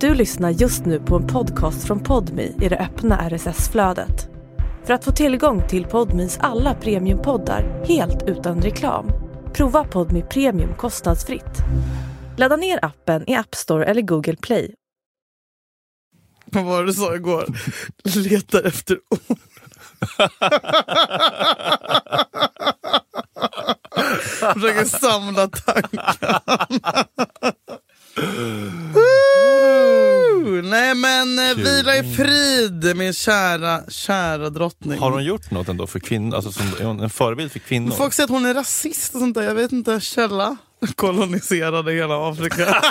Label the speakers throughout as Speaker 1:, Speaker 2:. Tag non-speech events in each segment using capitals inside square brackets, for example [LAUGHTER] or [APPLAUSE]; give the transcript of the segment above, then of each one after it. Speaker 1: Du lyssnar just nu på en podcast från Podmi i det öppna RSS-flödet. För att få tillgång till Podmis alla premiumpoddar helt utan reklam, prova Podmi Premium kostnadsfritt. Ladda ner appen i App Store eller Google Play.
Speaker 2: Vad var det du sa igår? Letar efter ord. Försöker samla tankar. Woo! Nej men eh,
Speaker 3: Kul.
Speaker 2: vila i frid min kära, kära drottning.
Speaker 3: Har hon gjort något ändå för kvinnor? Alltså som är hon en förebild för kvinnor?
Speaker 2: Folk säger att hon är rasist och sånt där. Jag vet inte. Källa. Koloniserade hela
Speaker 3: [LAUGHS]
Speaker 2: Afrika.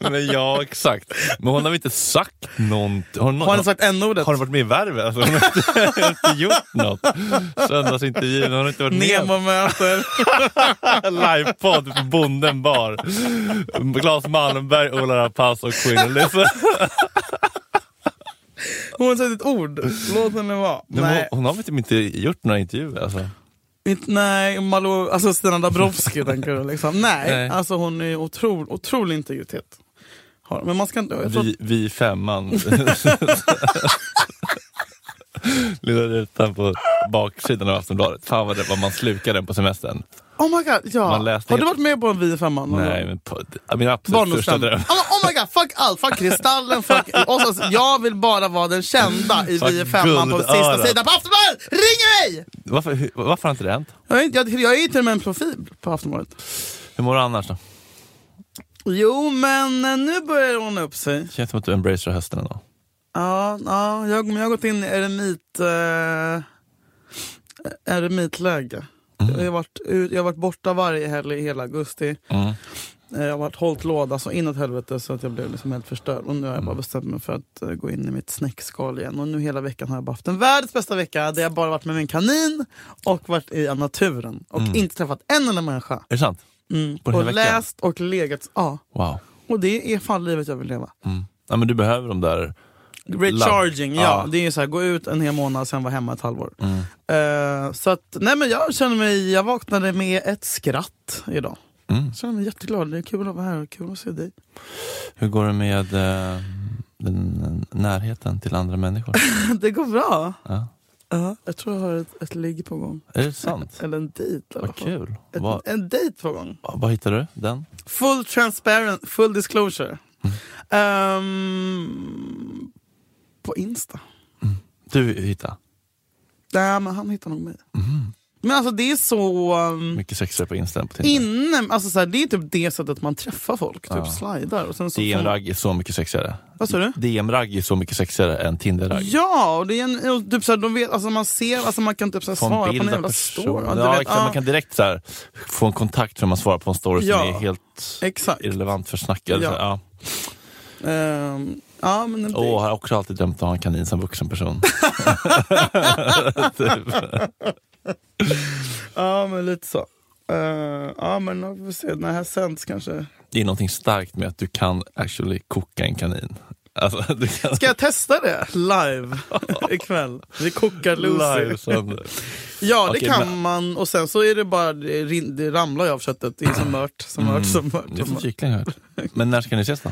Speaker 3: Men ja, exakt. Men hon har väl inte sagt någonting? Har hon,
Speaker 2: Har han sagt n-ordet?
Speaker 3: har hon varit med i Värvet? Alltså, hon har inte, [LAUGHS] hon har inte gjort något. Söndagsintervjun, hon har inte varit med.
Speaker 2: Nemo möter.
Speaker 3: Livepodd på Bonden bar. Claes Malmberg, Ola Rapace och Queen
Speaker 2: [LAUGHS]
Speaker 3: Elizabeth.
Speaker 2: Hon har sagt ett ord. Låt henne vara.
Speaker 3: Men
Speaker 2: Nej.
Speaker 3: Hon, hon har väl typ inte gjort några intervjuer? Alltså.
Speaker 2: Inte, nej, Malou, alltså Stina Dabrowski
Speaker 3: [LAUGHS]
Speaker 2: tänker du liksom. Nej,
Speaker 3: Nej.
Speaker 2: alltså hon är otrolig, otrolig integritet. Har, men man ska inte... Jag tror,
Speaker 3: Vi, vi femman. [LAUGHS] Lilla rutan på baksidan av Aftonbladet. Fan vad, det, vad man slukar den på semestern.
Speaker 2: oh my god, ja.
Speaker 3: Man läste
Speaker 2: Har du
Speaker 3: inget-
Speaker 2: varit med på en Vi i femman? någon
Speaker 3: Nej,
Speaker 2: gång?
Speaker 3: men på, min absolut största
Speaker 2: Barndomsdröm.
Speaker 3: dröm.
Speaker 2: Oh, oh my god, fuck allt! Fuck Kristallen, fuck...
Speaker 3: [LAUGHS]
Speaker 2: Och så, jag vill bara vara den kända i
Speaker 3: Fuck
Speaker 2: Vi i femman på sista
Speaker 3: guldörat.
Speaker 2: sidan på Aftonbladet! Ring mig!
Speaker 3: Varför, hur, varför har inte det hänt?
Speaker 2: Jag är, inte, jag, jag är ju till och med en profil på Aftonbladet.
Speaker 3: Hur mår du annars då?
Speaker 2: Jo, men eh, nu börjar det ordna upp sig.
Speaker 3: Känns som att du embracerar hösten ändå.
Speaker 2: Ja, ja jag, men jag har gått in i eremit, eh, eremitläge. Jag, har varit, ut- jag har varit borta varje helg i hela augusti.
Speaker 3: Mm.
Speaker 2: Eh, Jag har varit hållt låda så inåt helvete så att jag blev liksom helt förstörd. Och nu har jag
Speaker 3: Mm.
Speaker 2: bara bestämt mig för att eh, gå in i mitt snäckskal igen. Och nu hela veckan har jag bara haft en världens bästa vecka där jag bara varit med min kanin och varit i naturen. Och inte träffat en enda människa.
Speaker 3: Är det sant?
Speaker 2: Mm.
Speaker 3: Mm. På den här
Speaker 2: Och
Speaker 3: veckan?
Speaker 2: läst och legat. Ja.
Speaker 3: Wow.
Speaker 2: Och det är fan livet jag vill leva.
Speaker 3: Mm. Ja, men du behöver de där...
Speaker 2: Recharging,
Speaker 3: Ladd-
Speaker 2: ja.
Speaker 3: ja.
Speaker 2: Det är ju så här, gå ut en hel månad, sen vara hemma ett halvår.
Speaker 3: Mm.
Speaker 2: Eh, så att, nej men jag känner mig, jag vaknade med ett skratt idag.
Speaker 3: Mm.
Speaker 2: Jag känner mig jätteglad, det är kul att vara här och kul att se dig. [LAUGHS]
Speaker 3: Hur går det med eh, den närheten till andra människor?
Speaker 2: Det går bra.
Speaker 3: Ja.
Speaker 2: Ja, Jag tror jag har ett, ett ligg på gång.
Speaker 3: Är det sant?
Speaker 2: Eller en dejt i alla
Speaker 3: Vad
Speaker 2: fall.
Speaker 3: kul.
Speaker 2: Ett,
Speaker 3: Vad,
Speaker 2: En dejt på gång.
Speaker 3: vad hittar du? Den?
Speaker 2: Full transparent, full disclosure. Ehm, på Insta.
Speaker 3: Du hittar? Mm.
Speaker 2: Nej men han hittar nog mig. Men alltså det är så... um,
Speaker 3: Mycket sexigare på Insta än på Tinder.
Speaker 2: Inne, alltså så här, det är typ det sättet man träffar folk, typ
Speaker 3: Ja.
Speaker 2: slidar. Och sen så får man,
Speaker 3: DM-ragg är så mycket sexigare.
Speaker 2: vad sa du?
Speaker 3: DM-ragg är så mycket sexigare än Tinder-ragg.
Speaker 2: Ja, och det är en, och typ så här, de vet, alltså man ser, alltså man kan typ så här,
Speaker 3: Få en
Speaker 2: svara på en
Speaker 3: bild av
Speaker 2: jävla
Speaker 3: personen.
Speaker 2: story.
Speaker 3: Ja,
Speaker 2: du vet,
Speaker 3: exakt, man kan direkt så här, få en kontakt när man svarar på en story
Speaker 2: Ja.
Speaker 3: som är helt
Speaker 2: Exakt.
Speaker 3: irrelevant för snacket.
Speaker 2: Ja.
Speaker 3: Ja. Ja.
Speaker 2: Ehm, ja, men det,
Speaker 3: Åh, jag har också alltid drömt att ha en kanin som
Speaker 2: [LAUGHS]
Speaker 3: vuxen person. typ.
Speaker 2: ja, men lite så. Ehm, ja, men vi får se, när det här sänds kanske.
Speaker 3: Det är någonting starkt med att du kan actually koka en kanin. Alltså, [LAUGHS] du kan
Speaker 2: Ska jag testa det
Speaker 3: [LAUGHS]
Speaker 2: live ikväll? Vi kokar Lucy.
Speaker 3: live sönder.
Speaker 2: Ja, det
Speaker 3: Okej,
Speaker 2: kan
Speaker 3: men-
Speaker 2: man. Och sen så är det bara, det, rin- det ramlar ju av köttet. Det är som mört, som mört, som mört.
Speaker 3: Mm. Det är
Speaker 2: Som
Speaker 3: som
Speaker 2: mört.
Speaker 3: kyckling har jag
Speaker 2: [LAUGHS]
Speaker 3: hört. Men när ska ni ses då?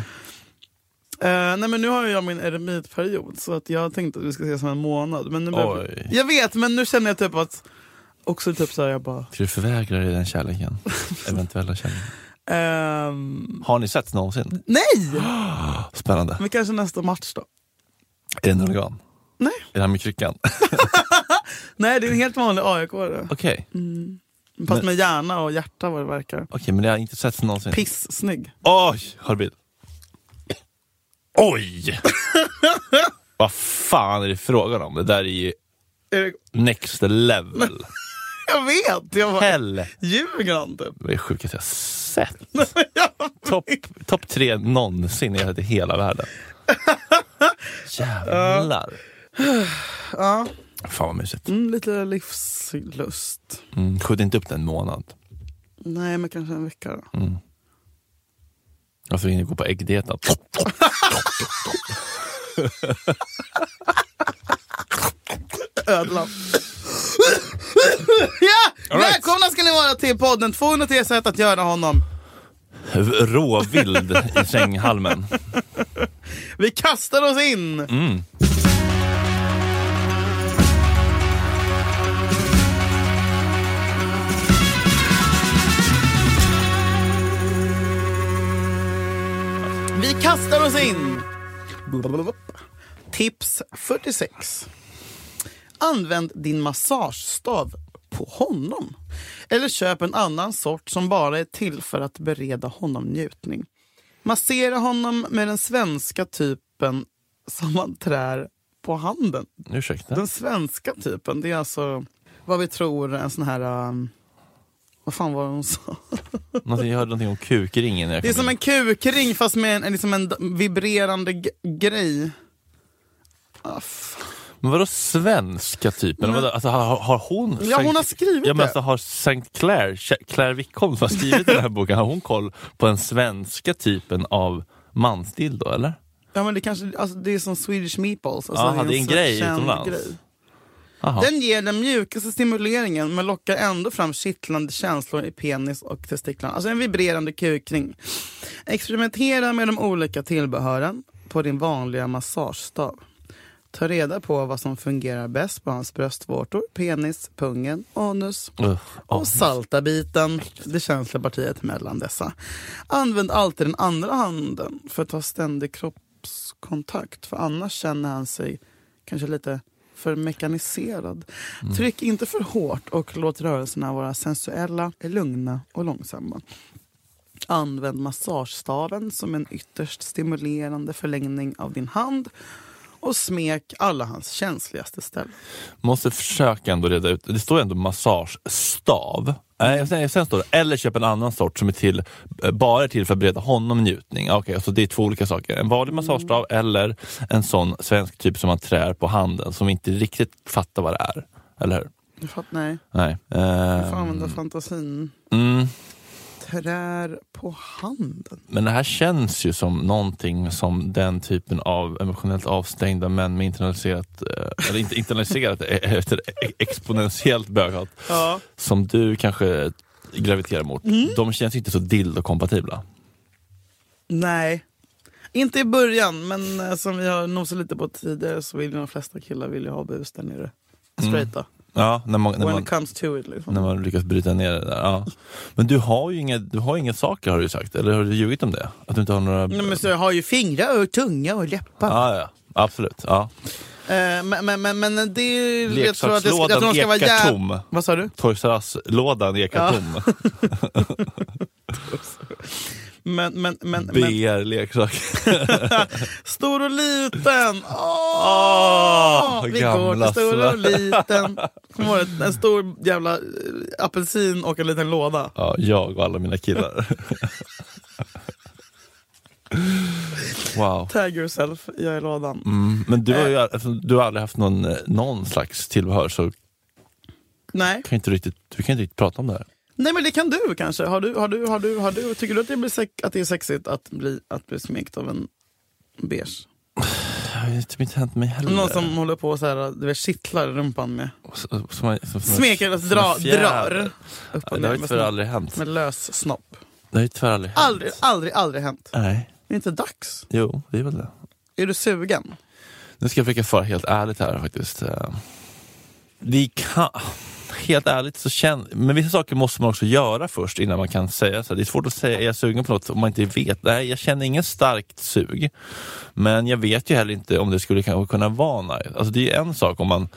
Speaker 2: Eh, nej men nu har jag min eremitperiod så att jag tänkte att vi ska ses om en månad. Men nu
Speaker 3: Oj.
Speaker 2: Jag vet men nu känner jag typ att också typ såhär jag bara...
Speaker 3: Ska du förvägra dig den kärleken? Eventuella kärleken.
Speaker 2: ehm,
Speaker 3: Har ni sett någonsin?
Speaker 2: nej!
Speaker 3: Spännande.
Speaker 2: Men kanske nästa match då.
Speaker 3: Är det en organ?
Speaker 2: Nej.
Speaker 3: Är det här
Speaker 2: [LAUGHS]
Speaker 3: med kryckan?
Speaker 2: Nej det är en helt vanlig aik Fast
Speaker 3: Okej,
Speaker 2: Mm.
Speaker 3: men-
Speaker 2: med hjärna och hjärta vad det verkar.
Speaker 3: Okej, men det har inte setts någonsin.
Speaker 2: Piss-snygg.
Speaker 3: Oj! Har du bild?
Speaker 2: [LAUGHS]
Speaker 3: Oj! Vad fan är det frågan om? Det där är ju
Speaker 2: Är det-
Speaker 3: next level.
Speaker 2: [LAUGHS] Jag vet! Jag bara,
Speaker 3: Helvete.
Speaker 2: ljuger han typ? [LAUGHS]
Speaker 3: Det är det sjukaste jag sett. Topp top tre någonsin i hela- i
Speaker 2: [LAUGHS]
Speaker 3: hela världen. Jävlar.
Speaker 2: Ja,
Speaker 3: Fan vad mysigt.
Speaker 2: mm, lite livslust.
Speaker 3: Mm, skjut inte upp den en månad.
Speaker 2: Nej men kanske en vecka då.
Speaker 3: Och så hinner vi gå på äggdieten.
Speaker 2: [LAUGHS] ödlan. ja! Välkomna ska ni vara till podden 203 sätt att göra honom
Speaker 3: råvild i
Speaker 2: [LAUGHS]
Speaker 3: sänghalmen.
Speaker 2: Vi kastar oss in!
Speaker 3: Mm.
Speaker 2: Vi kastar oss in! Tips 46. Använd din massagestav på honom. Eller köp en annan sort som bara är till för att bereda honom njutning. Massera honom med den svenska typen som man trär på handen.
Speaker 3: Ursäkta?
Speaker 2: Den svenska typen, det är alltså vad vi tror en sån här... um, vad fan var det hon sa?
Speaker 3: Någonting, jag hörde någonting om kukringen. när Jag
Speaker 2: Det är
Speaker 3: kom
Speaker 2: som
Speaker 3: in.
Speaker 2: en kukring fast med en, en, liksom en d- vibrerande g- grej. Ah, fan.
Speaker 3: Men vadå svenska typen?
Speaker 2: Men-
Speaker 3: Vadå, alltså, har, har hon...
Speaker 2: Ja, hon har skrivit
Speaker 3: Ja, men
Speaker 2: det.
Speaker 3: alltså, har St. Clair, Ch- Claire Wickholm som har skrivit den här boken, har hon koll på den svenska typen av mansdildo eller?
Speaker 2: Ja, men det, kanske, alltså, det är som Swedish meatballs. Alltså,
Speaker 3: Jaha, det är en grej
Speaker 2: känd
Speaker 3: utomlands. Aha.
Speaker 2: Den ger den mjukaste stimuleringen men lockar ändå fram kittlande känslor i penis och testiklarna. Alltså en vibrerande kukring. Experimentera med de olika tillbehören på din vanliga massagestav. Ta reda på vad som fungerar bäst på hans bröstvårtor, penis, pungen, anus
Speaker 3: Ugh.
Speaker 2: och
Speaker 3: Åh,
Speaker 2: salta biten, det känsliga partiet mellan dessa. Använd alltid den andra handen för att ha ständig kroppskontakt för annars känner han sig kanske lite för mekaniserad. Tryck inte för hårt och låt rörelserna vara sensuella, lugna och långsamma. Använd massagestaven som en ytterst stimulerande förlängning av din hand och smek alla hans känsligaste ställen.
Speaker 3: Måste försöka ändå reda ut, det står ju ändå massagestav. Nej, sen, sen står det, eller köp en annan sort som är till, eh, bara är till för att bereda honom njutning. Ah, Okej, alltså det är två olika saker. En vanlig massagestav
Speaker 2: Mm.
Speaker 3: eller en sån svensk typ som man trär på handen som inte riktigt fattar vad det är. Eller hur?
Speaker 2: Du fattar? Nej,
Speaker 3: Nej.
Speaker 2: du får använda
Speaker 3: Ehm,
Speaker 2: fantasin.
Speaker 3: mm,
Speaker 2: trär på handen.
Speaker 3: men det här känns ju som någonting som den typen av emotionellt avstängda män med internaliserat, eh, eller inte internaliserat, [LAUGHS] eh, eh, heter det, eh, exponentiellt böghat
Speaker 2: Ja.
Speaker 3: som du kanske graviterar mot,
Speaker 2: Mm.
Speaker 3: de känns ju inte så dildo-kompatibla.
Speaker 2: Nej. Inte i början, men eh, som vi har nosat lite på tidigare så vill ju de flesta killar vill ju ha bus där nere. Straighta.
Speaker 3: Ja, när man, Mm. när
Speaker 2: When
Speaker 3: man,
Speaker 2: it comes to it liksom.
Speaker 3: när man lyckas bryta ner det där. Ja. Men du har ju inga, du har ju inga saker har du ju sagt, eller har du ljugit om det? Att du inte har några...
Speaker 2: Nej, men så jag har ju fingrar och tunga och läppar.
Speaker 3: ja, ja, absolut. Ja.
Speaker 2: Eh, men, men, men, men det är... jag tror att det ska- jag tror
Speaker 3: Leksakslådan
Speaker 2: de ska vara
Speaker 3: ekar
Speaker 2: jäv-
Speaker 3: tom.
Speaker 2: Vad sa du?
Speaker 3: Toys R Us-lådan ekar
Speaker 2: Ja.
Speaker 3: tom.
Speaker 2: Men, men, [LAUGHS] men, men,
Speaker 3: BR-leksak.
Speaker 2: stor och
Speaker 3: [LAUGHS]
Speaker 2: liten! Åh!
Speaker 3: Åh,
Speaker 2: vi går
Speaker 3: Ah, gamla
Speaker 2: till stor och
Speaker 3: snö.
Speaker 2: liten. Kommer du ihåg det? En stor jävla eh, apelsin och en liten låda.
Speaker 3: Ja, jag och alla
Speaker 2: [LAUGHS]
Speaker 3: mina killar. Wow.
Speaker 2: Tag yourself, jag är lådan.
Speaker 3: Mm, men du har ju eftersom du har aldrig haft någon, eh, någon slags tillbehör så
Speaker 2: Nej.
Speaker 3: kan inte riktigt, du kan inte riktigt prata om det här.
Speaker 2: Nej men det kan du kanske. Har du, har du, har du, har du, tycker du att det, blir sex, att det är sexigt att bli, att bli smekt av en beige?
Speaker 3: Det har ju typ inte hänt mig heller.
Speaker 2: Någon som håller på så här, du vet, kittlar rumpan med.
Speaker 3: som, som, som,
Speaker 2: Smeker, alltså
Speaker 3: som en
Speaker 2: dra,
Speaker 3: fjäder.
Speaker 2: drar. Upp
Speaker 3: Ja,
Speaker 2: och
Speaker 3: Det har
Speaker 2: ner
Speaker 3: ju
Speaker 2: med,
Speaker 3: tyvärr
Speaker 2: snopp,
Speaker 3: aldrig hänt.
Speaker 2: med lös snopp.
Speaker 3: Det har ju tyvärr aldrig hänt.
Speaker 2: Aldrig, aldrig, aldrig hänt.
Speaker 3: Nej.
Speaker 2: Det är inte dags.
Speaker 3: Jo, det är väl det.
Speaker 2: Är du sugen?
Speaker 3: Nu ska jag försöka föra helt ärligt här faktiskt. Eh, Vi kan, helt ärligt så känn, men vissa saker måste man också göra först innan man kan säga så här. Det är svårt att säga, är jag sugen på något om man inte vet? Nej, jag känner ingen starkt sug. Men jag vet ju heller inte om det skulle kanske kunna vara nice. Alltså det är en sak om man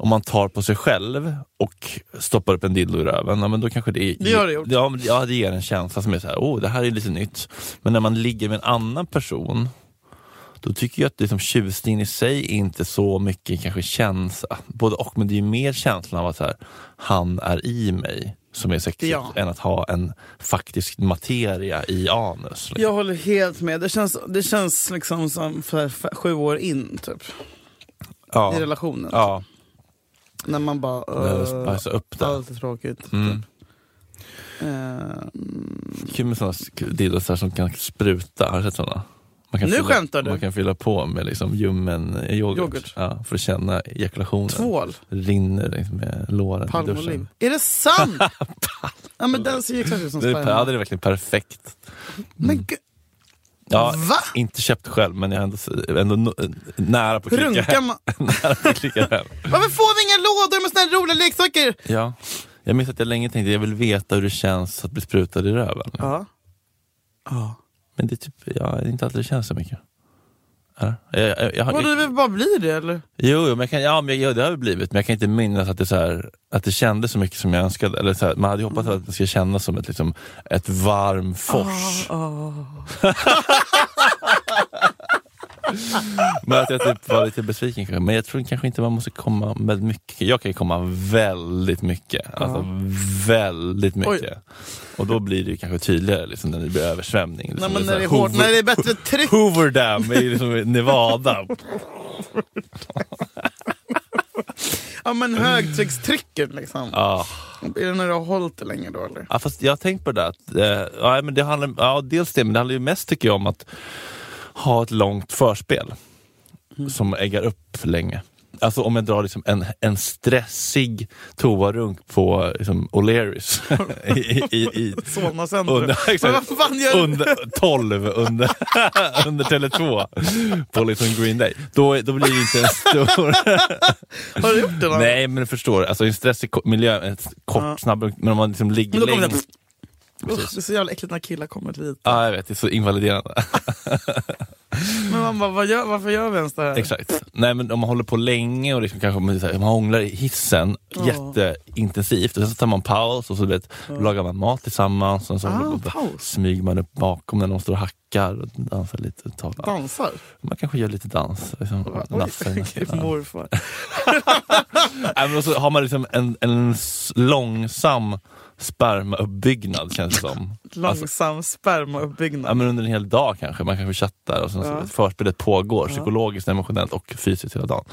Speaker 3: om man tar på sig själv och stoppar upp en dildo i röven, ja, men då kanske det...
Speaker 2: Det har det gjort.
Speaker 3: Ja, men- ja, det ger en känsla som är så här, oh, det här är lite nytt. Men när man ligger med en annan person, då tycker jag att liksom tjusningen i sig är inte så mycket kanske känns, både och, men det är ju mer känslan av att så här, han är i mig som är sexigt,
Speaker 2: Ja.
Speaker 3: än att ha en faktisk materia i anus. Liksom.
Speaker 2: Jag håller helt med. Det känns, det känns liksom som för, för sju år in typ, i
Speaker 3: Ja.
Speaker 2: relationen.
Speaker 3: Ja,
Speaker 2: När man bara...
Speaker 3: när du
Speaker 2: Uh,
Speaker 3: spajsar upp det.
Speaker 2: allt är tråkigt.
Speaker 3: Mm.
Speaker 2: Typ. Eh, mm.
Speaker 3: Kul med sådana dildos där som kan spruta, har du sett sådana? Man kan
Speaker 2: Nu
Speaker 3: fylla,
Speaker 2: skämtar du.
Speaker 3: Man kan fylla på med liksom ljummen yoghurt,
Speaker 2: Yoghurt.
Speaker 3: Ja, för att känna ejakulationen.
Speaker 2: Tvål,
Speaker 3: Rinner längs med låren i
Speaker 2: palmoliv.
Speaker 3: duschen.
Speaker 2: Är det
Speaker 3: [LAUGHS]
Speaker 2: sant? ja, men den ser ju exakt ut som
Speaker 3: Det är, per- ja, det
Speaker 2: sperma.
Speaker 3: är verkligen perfekt.
Speaker 2: Men gud,
Speaker 3: Ja,
Speaker 2: va?
Speaker 3: inte köpt själv, men jag är ändå, ändå no- nära på att klicka
Speaker 2: Runkar
Speaker 3: hem. [LAUGHS]
Speaker 2: man?
Speaker 3: nära på att klicka hem.
Speaker 2: Varför får vi inga lådor med såna här roliga leksaker?
Speaker 3: Ja. Jag minns att jag länge tänkte jag vill veta hur det känns att bli sprutad i röven.
Speaker 2: Ja. ja.
Speaker 3: Men det är typ, ja, det är inte alltid det känns så mycket. Eller? Jag, jag, jag,
Speaker 2: Vadå, det bara blir det eller?
Speaker 3: Jo, jo, men jag kan, ja, men jag, ja, det har det blivit, men jag kan inte minnas att det, så här, att det kändes så mycket som jag önskade. Eller så här, man hade ju hoppats att det skulle kännas som ett, liksom, ett varm fors. men att jag typ var lite besviken kanske. Men jag tror kanske inte man måste komma med mycket. Jag kan ju komma väldigt mycket. Alltså väldigt mycket. Och då blir det ju kanske tydligare liksom, när det blir översvämning.
Speaker 2: Nej,
Speaker 3: Liksom,
Speaker 2: men
Speaker 3: så
Speaker 2: när
Speaker 3: här
Speaker 2: det är hårt,
Speaker 3: hover-
Speaker 2: när det är bättre tryck.
Speaker 3: Hoover Dam i liksom Nevada.
Speaker 2: [LAUGHS] Ja men högtryckstrycket liksom.
Speaker 3: Ja.
Speaker 2: Är det när du har hållit det länge då eller?
Speaker 3: Ja, fast jag har tänkt på det där. Att, eh, ja, men det handlar, ja, dels det, men det handlar ju mest tycker jag om att ha ett långt förspel
Speaker 2: Mm.
Speaker 3: som äggar upp för länge. Alltså om jag drar liksom en, en stressig toarunk på liksom, O'Learys [LAUGHS] i, i, i,
Speaker 2: Solna centrum.
Speaker 3: under,
Speaker 2: men
Speaker 3: exakt,
Speaker 2: vad fan gör du?
Speaker 3: under 12 under, [LAUGHS] under Tele2 på liksom Green Day. Då, då blir det inte en stor
Speaker 2: [LAUGHS] Har du gjort det någon
Speaker 3: Nej, men du förstår. Alltså, i en stressig ko- miljö, en s- kort,
Speaker 2: Ja.
Speaker 3: snabb runk, men om man liksom ligger
Speaker 2: Men då kommer det...
Speaker 3: längst...
Speaker 2: Usch, det är så jävla äckligt när killar kommer dit.
Speaker 3: Ja, jag vet. Det är
Speaker 2: [LAUGHS]
Speaker 3: så invaliderande.
Speaker 2: Men man bara, vad gör, varför gör vi ens det här?
Speaker 3: Exakt. Nej, men om man håller på länge och liksom kanske man, så här, man hånglar i hissen
Speaker 2: Ja.
Speaker 3: jätteintensivt och sen så tar man paus och så vet, lagar man mat tillsammans och så
Speaker 2: Ah,
Speaker 3: håller man på-
Speaker 2: paus.
Speaker 3: smyger man upp bakom när någon står och hackar och dansar lite. ett tag. Ja,
Speaker 2: Dansar?
Speaker 3: Man kanske gör lite dans. Liksom,
Speaker 2: Oj,
Speaker 3: nafsar
Speaker 2: [LAUGHS]
Speaker 3: i [LAUGHS] nacken.
Speaker 2: vilken morfar.
Speaker 3: Ja, men och så har man liksom en, en s- långsam spermauppbyggnad känns det som. Alltså,
Speaker 2: Långsam
Speaker 3: Ja,
Speaker 2: spermauppbyggnad.
Speaker 3: men under en hel dag kanske, man kanske chattar och sen så
Speaker 2: Ja.
Speaker 3: förspelet pågår
Speaker 2: Ja.
Speaker 3: psykologiskt, emotionellt och fysiskt hela dagen.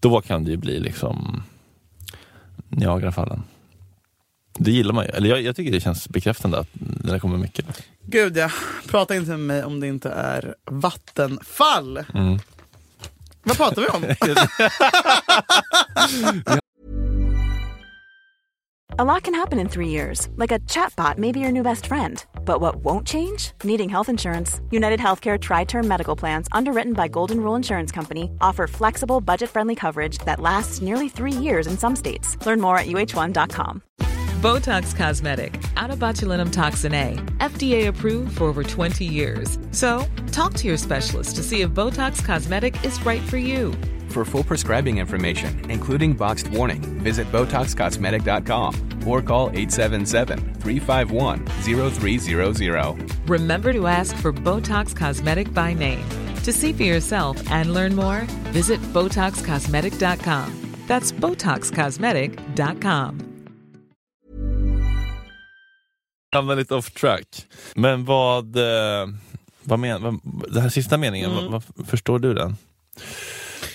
Speaker 3: Då kan det ju bli liksom Niagarafallen. Det gillar man ju. Eller jag, jag tycker det känns bekräftande att när det kommer mycket.
Speaker 2: Gud ja, prata inte med mig om det inte är vattenfall.
Speaker 3: Mm.
Speaker 2: Vad pratar vi om?
Speaker 4: A lot can happen in three years, like a chatbot may be your new best friend. But what won't change? Needing health insurance. United Healthcare Tri Term Medical Plans, underwritten by Golden Rule Insurance Company, offer flexible, budget friendly coverage that lasts nearly three years in some states. Learn more at uh1.com.
Speaker 5: Botox Cosmetic, out of botulinum toxin A, FDA approved for over 20 years. So, talk to your specialist to see if Botox Cosmetic is right for you.
Speaker 6: For full prescribing information, including boxed warning, visit BotoxCosmetic.com or call 877-351-0300.
Speaker 5: Remember to ask for Botox Cosmetic by name. To see for yourself and learn more, visit BotoxCosmetic.com. That's BotoxCosmetic.com.
Speaker 3: Hamnar lite off track. Men vad, eh, vad men, vad, den här sista meningen, vad, vad, förstår du den?
Speaker 2: Mm.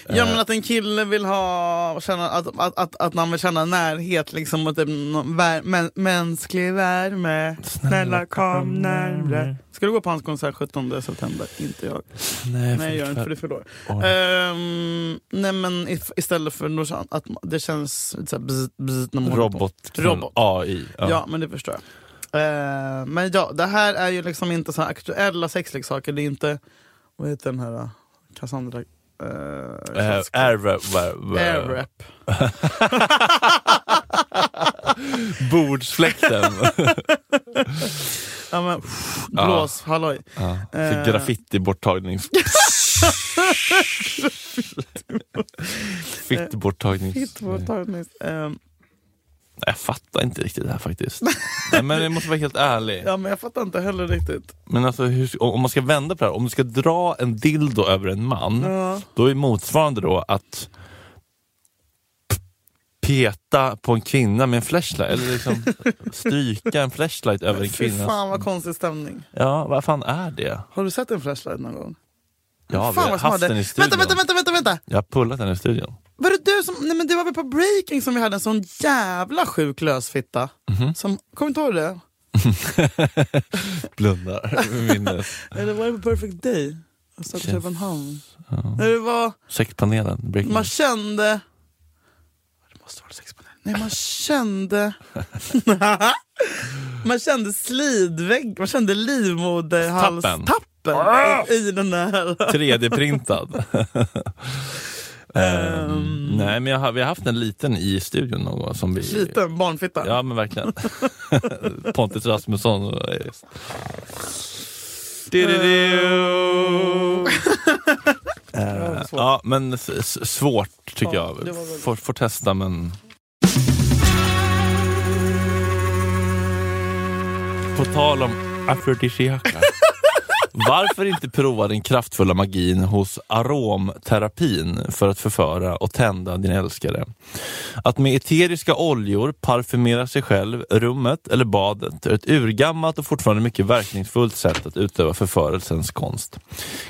Speaker 3: Eh,
Speaker 2: Ja men att en kille vill ha, känna, att, att, att, att man vill känna närhet liksom och typ någon vär, men, mänsklig värme. Snälla kom närmre. Ska du gå på hans konsert 17 september? Inte jag.
Speaker 3: Nej,
Speaker 2: Nej gör inte Eh, för du förlorar. Ehm, nej men if, istället för något sånt, att ma- det känns lite såhär bzz, bzz, när man håller på.
Speaker 3: Robot,
Speaker 2: Robot.
Speaker 3: AI.
Speaker 2: Ja. men det förstår jag. Ehm, men ja, det här är ju liksom inte så här aktuella sexleksaker. Det är inte, vad heter den här då? Cassandra? Uh,
Speaker 3: Eh, Airwrap. [LAUGHS]
Speaker 2: Airwrap. [LAUGHS]
Speaker 3: Bordsfläkten.
Speaker 2: Ja, men, blås, halloj.
Speaker 3: Ja,
Speaker 2: Eh.
Speaker 3: så graffitiborttagning.
Speaker 2: [LAUGHS]
Speaker 3: Fittborttagning.
Speaker 2: Hittvårdtagning. Um,
Speaker 3: Nej, Jag fattar inte riktigt det här
Speaker 2: [LAUGHS]
Speaker 3: faktiskt. Nej, men jag måste vara helt ärlig.
Speaker 2: ja, men jag fattar inte heller riktigt.
Speaker 3: Men alltså, hur, om om man ska vända på det här, om du ska dra en dildo över en man,
Speaker 2: Ja.
Speaker 3: då är motsvarande då att p- peta på en kvinna med en flashlight, eller
Speaker 2: [LAUGHS]
Speaker 3: liksom stryka en flashlight över en
Speaker 2: Fy
Speaker 3: kvinna.
Speaker 2: fan vad konstig stämning.
Speaker 3: Ja, vad fan är det?
Speaker 2: Har du sett en flashlight någon gång?
Speaker 3: Ja, vi
Speaker 2: fan
Speaker 3: har
Speaker 2: vad som
Speaker 3: haft
Speaker 2: hade-
Speaker 3: den i
Speaker 2: Vänta,
Speaker 3: studion.
Speaker 2: vänta, vänta, vänta, vänta!
Speaker 3: Jag har pullat den i studion.
Speaker 2: Var det du som, nej men det var väl på breaking som vi hade en sån jävla sjuk lösfitta.
Speaker 3: Mhm.
Speaker 2: Som, kommer du inte ihåg det?
Speaker 3: Blundar. Minnes. [LAUGHS]
Speaker 2: Eller var det på perfect day? Östra
Speaker 3: Chef.
Speaker 2: Köpenhamn. När det var,
Speaker 3: Sektpanelen, Breaking
Speaker 2: man kände... Det måste vara sexpanelen. Nej, man kände... [LAUGHS] man kände slidvägg, man kände livmoderhalstappen
Speaker 3: Ah!
Speaker 2: i, i den där...
Speaker 3: [LAUGHS] 3D-printad.
Speaker 2: Mm.
Speaker 3: Ehm, nej, men jag har, vi har haft en liten i studion någon gång. Som vi,
Speaker 2: Liten barnfitta.
Speaker 3: Ja, men verkligen. [LAUGHS] Pontus Rasmusson. och- Dididu. Eh, Ja, men s- s- svårt tycker
Speaker 2: Ja, det
Speaker 3: jag.
Speaker 2: var väldigt-
Speaker 3: Får, får testa, men... På tal om afrodisiaka. Varför inte prova den kraftfulla magin hos aromterapin för att förföra och tända din älskare? Att med eteriska oljor parfymera sig själv, rummet eller badet är ett urgammalt och fortfarande mycket verkningsfullt sätt att utöva förförelsens konst.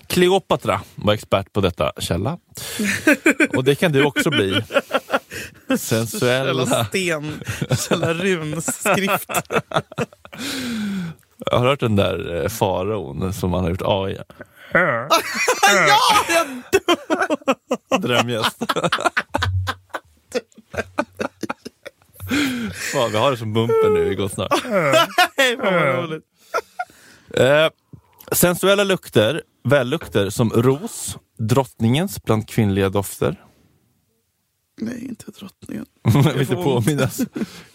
Speaker 3: Kleopatra var expert på detta källa. Och det kan du också bli.
Speaker 2: Källa
Speaker 3: Sensuella.
Speaker 2: Sten, Källa Runs skrift.
Speaker 3: Jag har hört den där eh, faraon som man har gjort AI.
Speaker 2: [LAUGHS]
Speaker 3: [LAUGHS] Drömgäst. Fan, vi har det som bumper nu i Gott snack.
Speaker 2: [LAUGHS] Nej, fan vad roligt.
Speaker 3: Eh, sensuella lukter, vällukter som ros, drottningens bland kvinnliga dofter. [LAUGHS]
Speaker 2: Nej, inte drottningen.
Speaker 3: Jag vill inte påminnas.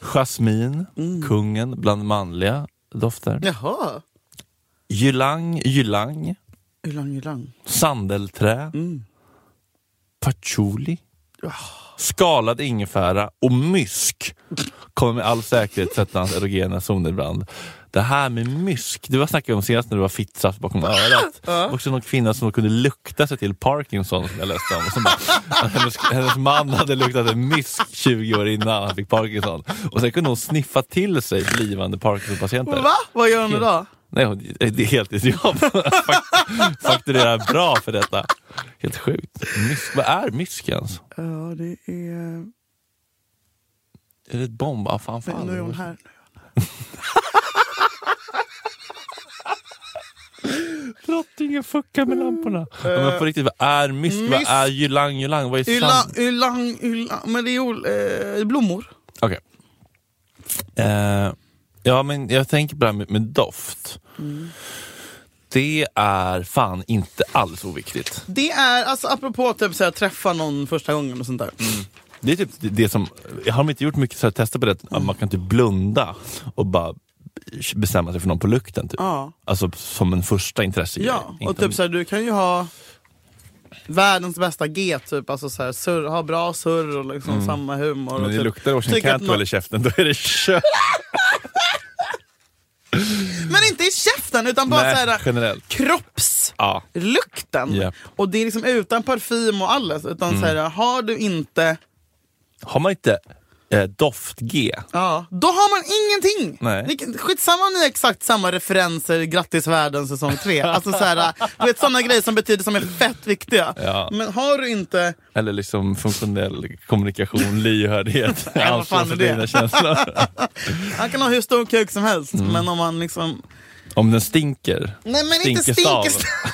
Speaker 3: Jasmin,
Speaker 2: Mm.
Speaker 3: kungen bland manliga dofter.
Speaker 2: Jaha.
Speaker 3: Ylang, ylang,
Speaker 2: Ylang ylang.
Speaker 3: sandelträ,
Speaker 2: Mm. Ah.
Speaker 3: patchouli, skalad ingefära och mysk kommer med all säkerhet sätta hans erogena zoner ibland. Det här med mysk, det var snackade vi om senast när du var fittsaft
Speaker 2: Ah.
Speaker 3: bakom örat. Det var också någon kvinna som kunde lukta sig till Parkinson som jag läste om. Som bara, att hennes, hennes man hade luktat en mysk 20 år innan han fick Parkinson. Och sen kunde hon sniffa till sig blivande Parkinson-patienter.
Speaker 2: Va? Vad gör hon idag?
Speaker 3: Nej, hon- det är [LAUGHS] heltidsjobb. Fak- Fakturerar bra för detta. Helt sjukt. Mysk, vad är mysk ens?
Speaker 2: Ja, det är...
Speaker 3: Är det ett bomb? Ah, fan, fan.
Speaker 2: Nej, nu är hon här.
Speaker 3: Drottningen fuckar med lamporna. Ja, men på riktigt, vad är mysk? Vad
Speaker 2: mysk-
Speaker 3: är ylang ylang? Vad är
Speaker 2: Ylang,
Speaker 3: sand?
Speaker 2: ylang, ylang. Men det är ol- eh, blommor.
Speaker 3: Okej. Eh, ja, men jag tänker på det här med, med doft.
Speaker 2: Mm.
Speaker 3: Det är fan inte alls oviktigt.
Speaker 2: Det är, alltså apropå typ såhär, träffa någon första gången och sånt där.
Speaker 3: Det är typ det- det som, har de inte gjort mycket så här, tester på det, att
Speaker 2: Mm.
Speaker 3: man kan typ blunda och bara bestämma sig för någon på lukten. Typ.
Speaker 2: Ja.
Speaker 3: Alltså som en första intressegrej.
Speaker 2: Ja, och
Speaker 3: Inte om-
Speaker 2: typ såhär, du kan ju ha världens bästa G, typ. Alltså såhär, surr, ha bra surr och liksom samma humor. och
Speaker 3: Mm. Men det
Speaker 2: typ,
Speaker 3: luktar Washington
Speaker 2: tycker att
Speaker 3: Cantwell i
Speaker 2: nå-
Speaker 3: käften, då är det kött.
Speaker 2: [LAUGHS] Men inte i käften, utan bara
Speaker 3: Nej,
Speaker 2: såhär
Speaker 3: generellt.
Speaker 2: kropps...
Speaker 3: Ja.
Speaker 2: lukten.
Speaker 3: Japp. Mm.
Speaker 2: Och det är liksom utan parfym och alles. Utan så här, har du inte...
Speaker 3: Har man inte eh, doft-G,
Speaker 2: Ja, då har man ingenting!
Speaker 3: Nej.
Speaker 2: Ni- Skitsamma om ni har exakt samma referenser i Grattis världen säsong 3. Alltså så här, du vet sådana grejer som betyder som är fett viktiga.
Speaker 3: Ja.
Speaker 2: Men har du inte...
Speaker 3: eller liksom funktionell
Speaker 2: [LAUGHS]
Speaker 3: kommunikation, lyhördhet,
Speaker 2: Nej, vad fan
Speaker 3: ansvar för
Speaker 2: är det? [LAUGHS]
Speaker 3: dina känslor.
Speaker 2: Han kan ha hur stor kuk som helst,
Speaker 3: Mm.
Speaker 2: men om han liksom...
Speaker 3: Om den stinker,
Speaker 2: Nej men inte
Speaker 3: stav.
Speaker 2: stinker stav.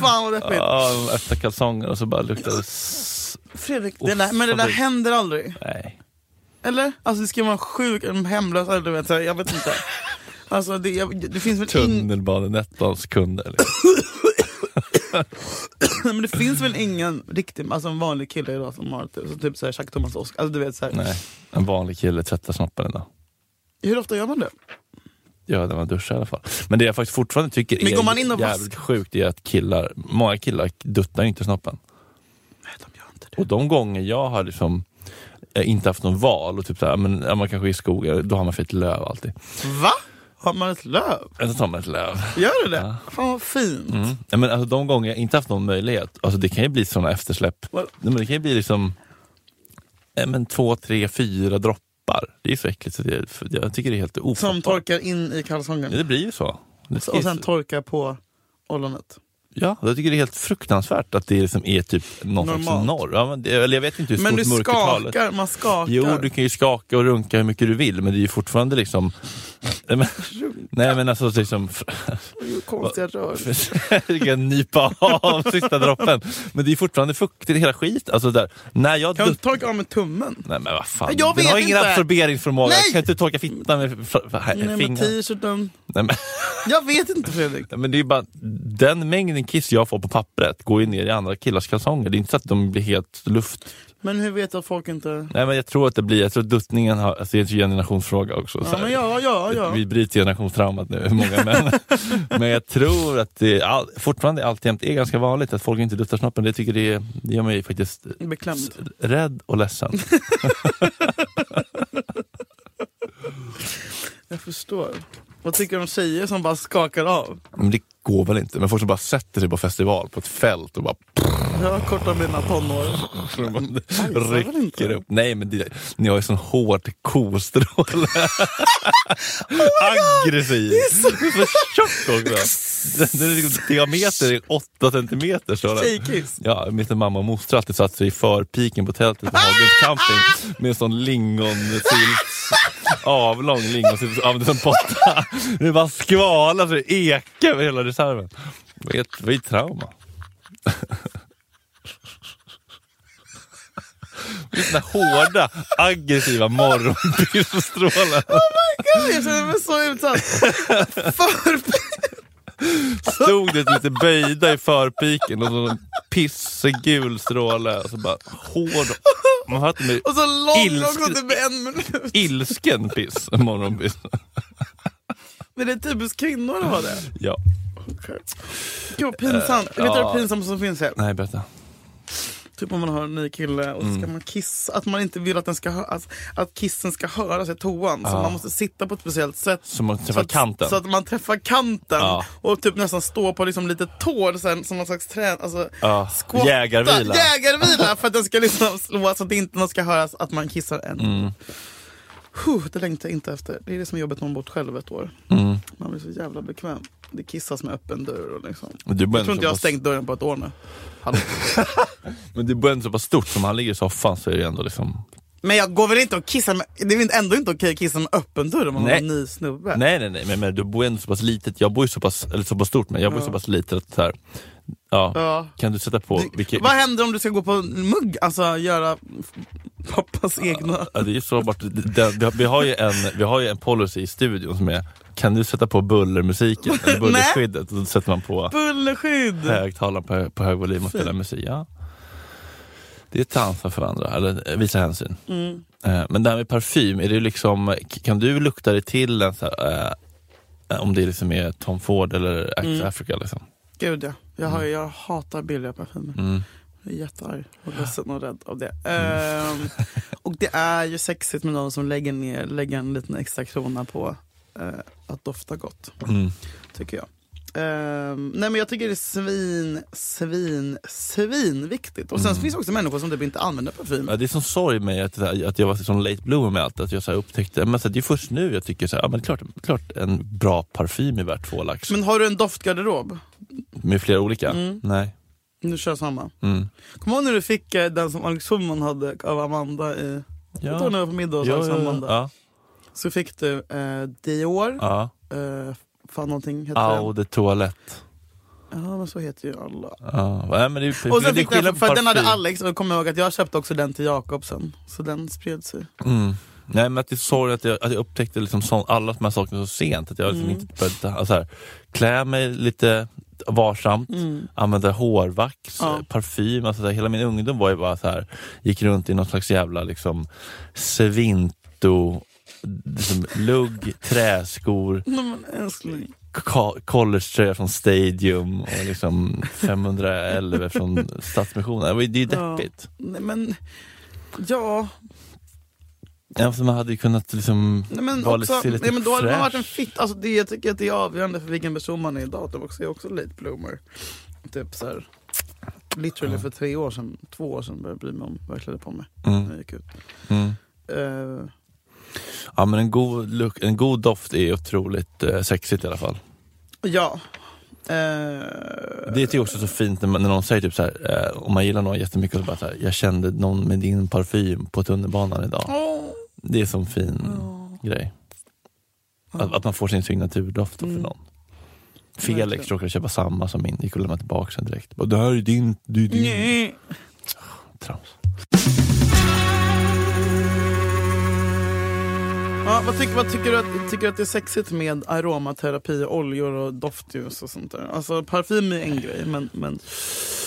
Speaker 2: Fan vad deppigt.
Speaker 3: Ja, öppna kalsonger och så bara luktar det... s-
Speaker 2: Fredrik, det där, men det där
Speaker 3: Fabrik.
Speaker 2: händer aldrig.
Speaker 3: Nej.
Speaker 2: Eller? Alltså det ska vara en sjuk, en hemlös, eller du vet, så här, jag vet inte. Alltså det, jag, det finns väl [LAUGHS] ingen...
Speaker 3: Tunnelbanenetbans kunder.
Speaker 2: Men det finns väl ingen riktig, alltså en vanlig kille idag som har typ, så typ såhär Jacques Thomas och Oscar, alltså du vet såhär.
Speaker 3: Nej, en vanlig kille tvättar snoppen idag.
Speaker 2: Hur ofta gör man det?
Speaker 3: Ja, när man duschar i alla fall. Men det jag faktiskt fortfarande tycker
Speaker 2: Men går man in
Speaker 3: är
Speaker 2: och
Speaker 3: jävligt sjukt är att killar, många killar duttar ju inte snoppen.
Speaker 2: Nej de gör inte det.
Speaker 3: Och de gånger jag har liksom eh, inte haft någon val och typ såhär, men är man kanske i skogen, då har man fått löv alltid.
Speaker 2: Va? Har man ett löv?
Speaker 3: Eller så tar man ett löv.
Speaker 2: Gör du det? Fan vad fint.
Speaker 3: Ja, men alltså, de gånger jag inte haft någon möjlighet, alltså, det kan ju bli sådana eftersläpp.
Speaker 2: Vad-
Speaker 3: Nej, men det kan ju bli liksom eh, men två, tre, fyra droppar. Det är ju så äckligt så det, för jag tycker det är helt
Speaker 2: Som
Speaker 3: ofattbart.
Speaker 2: torkar in i
Speaker 3: Ja,
Speaker 2: kalsongen.
Speaker 3: det blir ju så. Det
Speaker 2: Och
Speaker 3: är
Speaker 2: sen
Speaker 3: så-
Speaker 2: torkar på ollonet.
Speaker 3: Ja, jag tycker det är helt fruktansvärt att det liksom är typ någon slags
Speaker 2: Normalt.
Speaker 3: norr. Ja, men det, eller jag vet inte hur
Speaker 2: Men
Speaker 3: stort
Speaker 2: du
Speaker 3: mörkertalet
Speaker 2: skakar, man skakar.
Speaker 3: Jo, du kan ju skaka och runka hur mycket du vill, men det är ju fortfarande liksom Nej men, nej, men alltså liksom... [LAUGHS]
Speaker 2: Konstiga rör.
Speaker 3: Försöka nypa av sista droppen. Men det är fortfarande fuktigt, hela skit. Alltså där. När jag
Speaker 2: Kan du
Speaker 3: dutt...
Speaker 2: torka av med tummen?
Speaker 3: Nej men vad fan,
Speaker 2: Nej, jag
Speaker 3: den
Speaker 2: vet
Speaker 3: har ingen
Speaker 2: inte.
Speaker 3: absorberingsförmåga.
Speaker 2: Nej!
Speaker 3: Jag kan inte torka fittan med f- f- här-
Speaker 2: Nej, men typ.
Speaker 3: fingrar.
Speaker 2: t-shirten.
Speaker 3: Nej, men,
Speaker 2: Jag vet inte Fredrik.
Speaker 3: nej, men det är ju bara, den mängden kiss jag får på pappret går ju ner i andra killars kalsonger. Det är inte så att de blir helt luft.
Speaker 2: Men hur vet du att folk inte...
Speaker 3: Nej men jag tror att det blir, jag tror att duttningen har, alltså, det är en generationsfråga också. så
Speaker 2: Ja,
Speaker 3: här.
Speaker 2: men ja, ja, ja.
Speaker 3: Vi bryter generationstraumat nu,
Speaker 2: [LAUGHS]
Speaker 3: många män. men jag tror att det all, fortfarande alltjämt är ganska vanligt att folk inte duttar snoppen. Det tycker det, är- det gör mig faktiskt
Speaker 2: Beklämd.
Speaker 3: rädd
Speaker 2: [LAUGHS]
Speaker 3: och ledsen.
Speaker 2: Jag förstår. Vad tycker du om tjejer som bara skakar av?
Speaker 3: Men det går väl inte? Men folk som bara sätter sig på festival, på ett fält
Speaker 2: [LAUGHS]
Speaker 3: och bara
Speaker 2: Jag har korta mina
Speaker 3: [LAUGHS]
Speaker 2: tonår. väl inte?
Speaker 3: rycker upp. Nej men det, ni har ju sån hårt
Speaker 2: [LAUGHS]
Speaker 3: kostråle. Aggressiv. Så tjock också. Den- den är liksom- Diameter är 8 centimeter. Så den.
Speaker 2: Tjejkiss.
Speaker 3: Ja, min mamma och moster alltid satt sig i förpiken på tältet på Hagens camping med en sån lingonsylt. Avlång lingonsylt, användes som potta. Det bara skvalade så det ekade över hela reserven. Det var ett- det var ju ett trauma. Det är såna hårda, aggressiva morgonpillstrålar.
Speaker 2: Gud, jag känner mig så utsatt. För...
Speaker 3: Stod det lite böjda i förpiken och så en pissegul stråle. Och så bara hård. Man hör att de är
Speaker 2: Och så lång
Speaker 3: Ilsk-
Speaker 2: också, typ en minut.
Speaker 3: ilsken piss. Morgonpiss.
Speaker 2: Men det är typiskt kvinnor att ha det.
Speaker 3: Ja.
Speaker 2: Okay. Gud vad pinsamt. Vet du vad det pinsamt som finns här?
Speaker 3: Eh, Nej, berätta.
Speaker 2: Typ om man har en ny kille och så
Speaker 3: Mm.
Speaker 2: ska man kissa. Att man inte vill att, den ska hö- att, att kissen ska höras i toan. Så man måste sitta på ett speciellt sätt.
Speaker 3: Så man träffar
Speaker 2: så att,
Speaker 3: kanten.
Speaker 2: Så att man träffar kanten.
Speaker 3: Ja.
Speaker 2: Och typ nästan stå på liksom lite tår sen, som någon slags trän... Alltså,
Speaker 3: Ja,
Speaker 2: squatta.
Speaker 3: jägarvila. [LAUGHS]
Speaker 2: Jägarvila för att den ska liksom slå så att det inte någon ska höras att man kissar än.
Speaker 3: Mm.
Speaker 2: Huh, det längtar jag inte efter. Det är det som är jobbigt när man bort själv ett år.
Speaker 3: Mm.
Speaker 2: Man blir så jävla bekväm. Det kissas med öppen dörr. Och liksom.
Speaker 3: Men du
Speaker 2: Jag
Speaker 3: börjar
Speaker 2: tror
Speaker 3: så
Speaker 2: inte jag har
Speaker 3: pass-
Speaker 2: stängt dörren på ett år nu. Hallå.
Speaker 3: Men det börjar inte så pass stort som han ligger i soffan så är det ändå liksom...
Speaker 2: Men jag går väl inte och kissar med, det är väl ändå inte okej att kissa med öppen dörr om man har
Speaker 3: Nej.
Speaker 2: en ny snubbe?
Speaker 3: Nej, nej, nej. Men, men du bor ändå så pass litet. Jag bor ju så pass, eller så pass stort, men jag bor ju så pass litet att så här, ja,
Speaker 2: Ja.
Speaker 3: Kan du sätta på
Speaker 2: Det-
Speaker 3: vilket...
Speaker 2: Vad händer om du ska gå på en mugg? Alltså göra pappas egna...
Speaker 3: Ja, det är ju så bort. Den, vi, har, vi, har ju en, vi har ju en policy i studion som är Kan du sätta på bullermusiken, eller bullerskyddet? Och Då sätter man på
Speaker 2: Bullerskydd!
Speaker 3: högtalaren på, på hög volym och spelar musik. Ja. Det är ett ansvar för andra, eller eh, visa hänsyn.
Speaker 2: Mm.
Speaker 3: Eh, Men det här med parfym, är det liksom, eh, k- kan du lukta dig till en så här, eh, om det liksom är Tom Ford eller Axe
Speaker 2: Mm.
Speaker 3: Africa? Liksom? Mm.
Speaker 2: Gud ja. Jag, har, jag hatar billiga parfymer. Jag är jättearg och ledsen och rädd av det.
Speaker 3: [LAUGHS]
Speaker 2: Ehm, och det är ju sexigt med någon som lägger, ner, lägger en liten extra krona på eh, att dofta gott.
Speaker 3: Mm.
Speaker 2: Tycker jag. Ehm, nej men jag tycker det är svin, svin, svin viktigt. Och sen
Speaker 3: Mm.
Speaker 2: finns det också människor som typ inte använder parfym.
Speaker 3: Ja, det är som sorg med att, så här, att jag var sån late bloomer med allt, att jag så här, upptäckte, men så här, det är först nu jag tycker så här, ja, men klart, klart en bra parfym är värt två lax.
Speaker 2: Men Mm. har du en doftgarderob?
Speaker 3: Med flera olika? Nej.
Speaker 2: Du kör samma.
Speaker 3: Mm.
Speaker 2: Kommer du ihåg när du fick eh, den som Alex Schulman hade av Amanda i...
Speaker 3: Ja.
Speaker 2: Jag tror när jag var på middag hos
Speaker 3: Ja,
Speaker 2: Alex
Speaker 3: ja, ja,
Speaker 2: Amanda.
Speaker 3: ja,
Speaker 2: Så fick du eh, Dior,
Speaker 3: ja.
Speaker 2: eh, fan någonting heter
Speaker 3: Au
Speaker 2: det.
Speaker 3: de toalett.
Speaker 2: Ja men så heter ju alla.
Speaker 3: Ja. Nej, men det, är-
Speaker 2: Och sen
Speaker 3: det är
Speaker 2: fick den,
Speaker 3: skillnad på
Speaker 2: för den hade
Speaker 3: parfym.
Speaker 2: Alex och kom ihåg att jag köpte också den till Jakob sen. Så den spred sig.
Speaker 3: Mm. Nej men att det är sorg att jag, att jag upptäckte liksom sån, alla de här sakerna så sent att jag liksom
Speaker 2: Mm.
Speaker 3: inte började ta- alltså här, klä mig lite varsamt, använda hårvax,
Speaker 2: Ja.
Speaker 3: eh, parfym, alltså så här, hela min ungdom var ju bara så här, gick runt i någon slags jävla liksom svinto, liksom, lugg, träskor,
Speaker 2: Nej men älskling.
Speaker 3: ka- collegetröja från Stadium och liksom 511 från Stadsmissionen. Det var ju- Det är ju deppigt.
Speaker 2: Nej men, ja.
Speaker 3: Ja. Man hade ju kunnat liksom
Speaker 2: Nej, men
Speaker 3: vara
Speaker 2: också,
Speaker 3: lite, se lite
Speaker 2: nej, men då hade man varit
Speaker 3: fräsch.
Speaker 2: en fit. Alltså det, jag tycker att det är avgörande för vilken person man är idag. Det också, jag är också late bloomer. Typ så här, literally för tre år sedan, två år sedan började jag bry mig om vad jag klädde på mig. När jag gick ut.
Speaker 3: Mm.
Speaker 2: Eh,
Speaker 3: Ja men en god, luk- en god doft är otroligt eh, sexigt i alla fall.
Speaker 2: ja. Eh,
Speaker 3: Det tycker jag också är typ- så fint när, man, när någon säger typ så här, eh, om man gillar någon jättemycket och bara så här, jag kände någon med din parfym på tunnelbanan idag.
Speaker 2: åh.
Speaker 3: Det är en sån fin grej. Mm. Att, att man får sin signaturdoft
Speaker 2: Mm.
Speaker 3: då för någon. Felix råkade köpa samma som min, gick och lämnade tillbaka den direkt. Bara, Det här är din, du är din.
Speaker 2: Nej.
Speaker 3: Trams.
Speaker 2: Ja, vad tycker, vad tycker, du att, tycker du att det är sexigt med aromaterapi, oljor och doftljus och sånt där? Alltså parfym är en grej, men, men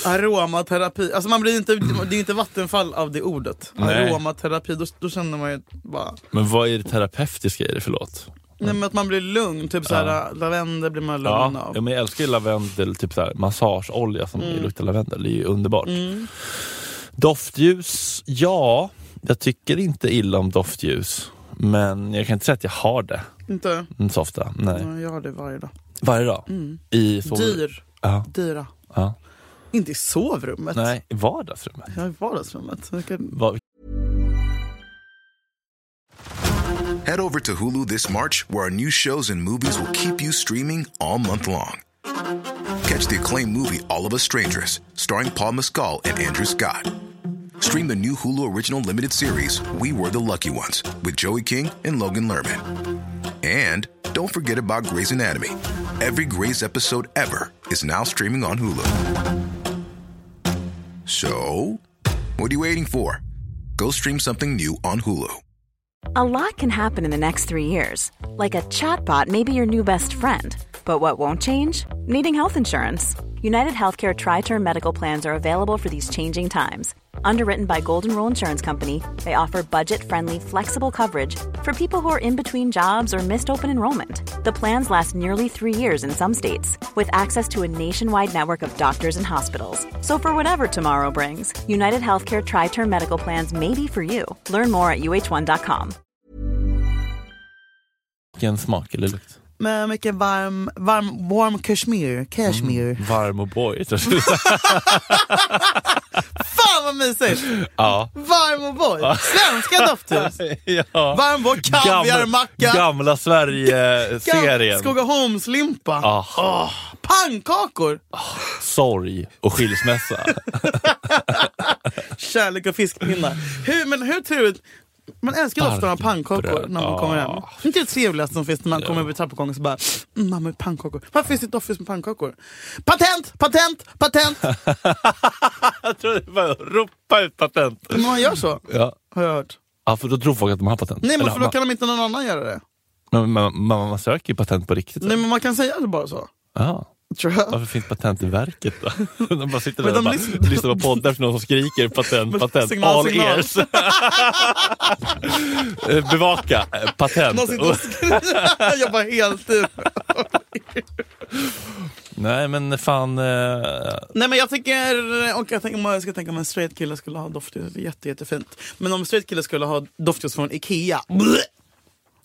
Speaker 2: aromaterapi. Alltså man blir inte, det är inte vattenfall av det ordet.
Speaker 3: Nej.
Speaker 2: Aromaterapi, då, då känner man ju bara...
Speaker 3: Men vad är det terapeutiska i det, förlåt?
Speaker 2: Nej men att man blir lugn, typ såhär lavendel blir man lugn
Speaker 3: Ja,
Speaker 2: av. Mm.
Speaker 3: ja, men jag älskar ju lavendel, typ så här, massageolja som luktar lavendel. Det är ju underbart. Doftljus, ja. Jag tycker inte illa om doftljus. Men jag kan inte säga att jag har det
Speaker 2: Inte?
Speaker 3: mm, så ofta. Nej.
Speaker 2: Ja, jag har det varje dag.
Speaker 3: Varje dag. I sov...
Speaker 2: Mm. Dyr.
Speaker 3: Ja,
Speaker 2: Dyra.
Speaker 3: ja.
Speaker 2: Inte i sovrummet.
Speaker 3: Nej, i vardagsrummet.
Speaker 2: Jag har i vardagsrummet. Jag kan-
Speaker 3: Vad-
Speaker 7: Head over to Hulu this March, where our new shows and movies will keep you streaming all month long. Catch the acclaimed movie All of Us Strangers, starring Paul Mescal and Andrew Scott. Stream the new Hulu original limited series We Were the Lucky Ones with Joey King and Logan Lerman. And don't forget about Grey's Anatomy. Every Grey's episode ever is now streaming on Hulu. So, what are you waiting for? Go stream something new on Hulu.
Speaker 4: A lot can happen in the next three years. Like a chatbot may be your new best friend. But what won't change? Needing health insurance. United Healthcare Tri Term Medical Plans are available for these changing times. Underwritten by Golden Rule Insurance Company, they offer budget friendly, flexible coverage for people who are in between jobs or missed open enrollment. The plans last nearly three years in some states, with access to a nationwide network of doctors and hospitals. So, for whatever tomorrow brings, United Healthcare Tri Term Medical Plans may be for you. Learn more at uh1.com.
Speaker 3: Vilken smak eller lukt?
Speaker 2: Med mycket varm, varm, warm kashmir. Kashmir.
Speaker 3: Varm och boy. tror
Speaker 2: [LAUGHS]
Speaker 3: jag.
Speaker 2: Fan vad mysigt!
Speaker 3: ja.
Speaker 2: Varm och boy. Svenska doftljus.
Speaker 3: ja.
Speaker 2: Varm och kaviarmacka.
Speaker 3: Gamla Sverige-serien.
Speaker 2: Skogaholmslimpa.
Speaker 3: Ja.
Speaker 2: Åh, pannkakor.
Speaker 3: Sorg och skilsmässa.
Speaker 2: Kärlek och fiskpinnar. Hur, men hur trevligt. Man älskar doften av pannkakor när man
Speaker 3: Ja.
Speaker 2: kommer hem. Det är inte det trevligaste som finns när man kommer upp i trappuppgången och så bara mm, Mamma, pannkakor. Varför finns det ett doftljus med pannkakor? Patent! Patent! Patent!
Speaker 3: [LAUGHS] jag tror det var att ropa ut patent.
Speaker 2: Men man gör så,
Speaker 3: Ja.
Speaker 2: har jag hört.
Speaker 3: ja, för då tror folk att de har patent.
Speaker 2: Nej, men
Speaker 3: Eller
Speaker 2: för då
Speaker 3: man-
Speaker 2: kan de inte någon annan göra det.
Speaker 3: Men man, man, man söker ju patent på riktigt.
Speaker 2: Nej, men man kan säga det bara så.
Speaker 3: Ja.
Speaker 2: Tror jag.
Speaker 3: Varför finns Patentverket då? [LAUGHS] De bara sitter
Speaker 2: Men
Speaker 3: där och
Speaker 2: de
Speaker 3: bara
Speaker 2: lyssnar-
Speaker 3: lyssnar på poddar för någon som skriker
Speaker 2: [LAUGHS]
Speaker 3: patent, patent,
Speaker 2: signal,
Speaker 3: all
Speaker 2: signal.
Speaker 3: ears. [LAUGHS] Eh, Bevaka, eh, patent.
Speaker 2: Någon sitter och
Speaker 3: [LAUGHS]
Speaker 2: skriver. Jag bara heltid.
Speaker 3: Oh, Nej men fan, eh,
Speaker 2: Nej men jag tänker, och jag tänker om jag ska tänka om en straight kille skulle ha doftljus, det är jätte, jättefint. Men om en straight kille skulle ha doftljus från Ikea, bleh.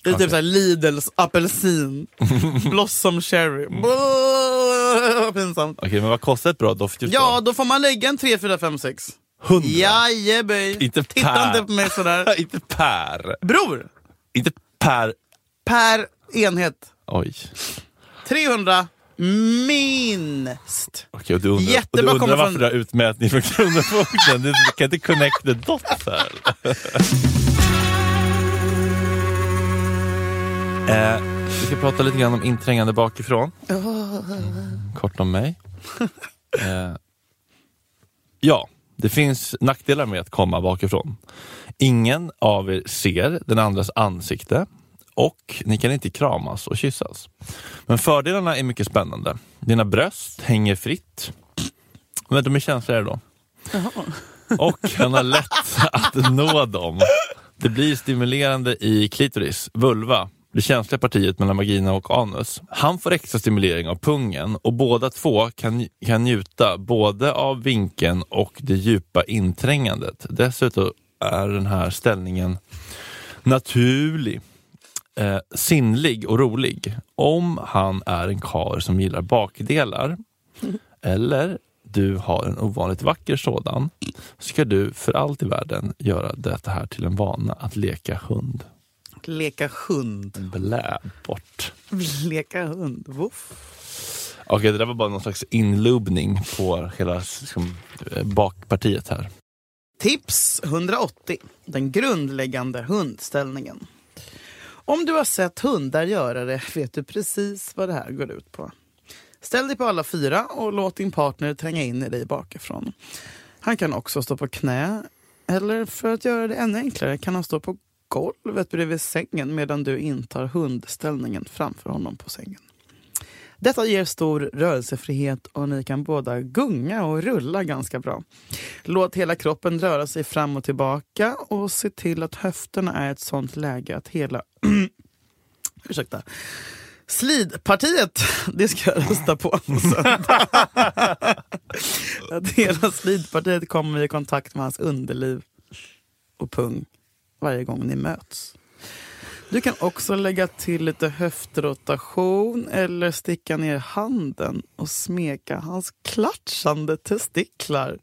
Speaker 2: det är typ såhär Lidls apelsin, Blossom cherry, bleh. pinsamt.
Speaker 3: okej men vad kostar ett bra doftljus
Speaker 2: Ja,
Speaker 3: då?
Speaker 2: då får man lägga en 3, 4, 5, 6.
Speaker 3: 100?
Speaker 2: Jajeböj!
Speaker 3: Inte
Speaker 2: Titta
Speaker 3: per.
Speaker 2: inte på mig sådär.
Speaker 3: [LAUGHS] Inte per,
Speaker 2: Bror!
Speaker 3: inte per,
Speaker 2: Per enhet.
Speaker 3: oj.
Speaker 2: 300 minst.
Speaker 3: Okej, och du undrar, och du
Speaker 2: Jättebra
Speaker 3: undrar
Speaker 2: kommer
Speaker 3: varför
Speaker 2: från-
Speaker 3: du har utmätning från [LAUGHS] Kronofogden? Du kan inte connect the dots här. [LAUGHS] eh, vi ska prata lite grann om inträngande bakifrån. Mm, kort om mig. Eh, ja, det finns nackdelar med att komma bakifrån. Ingen av er ser den andras ansikte och ni kan inte kramas och kyssas. Men fördelarna är mycket spännande. Dina bröst hänger fritt. Men de är känsligare då. Och han har lätt att nå dem. Det blir stimulerande i klitoris, vulva, det känsliga partiet mellan vagina och anus. Han får extra stimulering av pungen och båda två kan, kan njuta både av vinkeln och det djupa inträngandet. Dessutom är den här ställningen naturlig eh, sinnlig och rolig om han är en karl som gillar bakdelar eller du har en ovanligt vacker sådan ska du för allt i världen göra detta här till en vana att leka hund.
Speaker 2: Leka hund.
Speaker 3: Blä bort.
Speaker 2: Leka hund. Woof.
Speaker 3: Okej, det där var bara någon slags inlubning på hela liksom, eh, bakpartiet här.
Speaker 2: Tips 180. Den grundläggande hundställningen. Om du har sett hundar göra det vet du precis vad det här går ut på. Ställ dig på alla fyra och låt din partner tränga in i dig bakifrån. Han kan också stå på knä, eller för att göra det ännu enklare kan han stå på golvet bredvid sängen medan du intar hundställningen framför honom på sängen. Detta ger stor rörelsefrihet och ni kan båda gunga och rulla ganska bra. Låt hela kroppen röra sig fram och tillbaka och se till att höfterna är i ett sånt läge att hela [CLEARS THROAT] ursäkta, slidpartiet, det ska jag rösta på på söndag. [LAUGHS] Att hela slidpartiet kommer i kontakt med hans underliv och pung varje gång ni möts. Du kan också lägga till lite höftrotation eller sticka ner handen och smeka hans klatschande testiklar.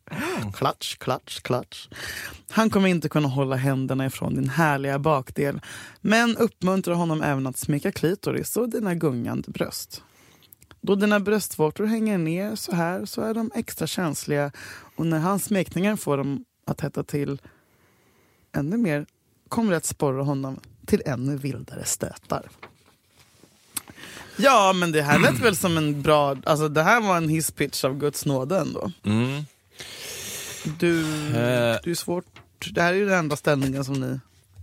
Speaker 2: Klatsch, klatsch, klatsch. Han kommer inte kunna hålla händerna ifrån din härliga bakdel men uppmuntra honom även att smeka klitoris och dina gungande bröst. Då dina bröstvårtor hänger ner så här så är de extra känsliga och när hans smekningar får dem att hetta till ännu mer kommer det att sporra honom till ännu vildare stötar. Ja, men det här lät väl som en bra... Alltså det här var en hisspitch av Guds nåde ändå.
Speaker 3: Mm.
Speaker 2: Du,
Speaker 3: Eh.
Speaker 2: du är svårt... Det här är ju den enda ställningen som ni...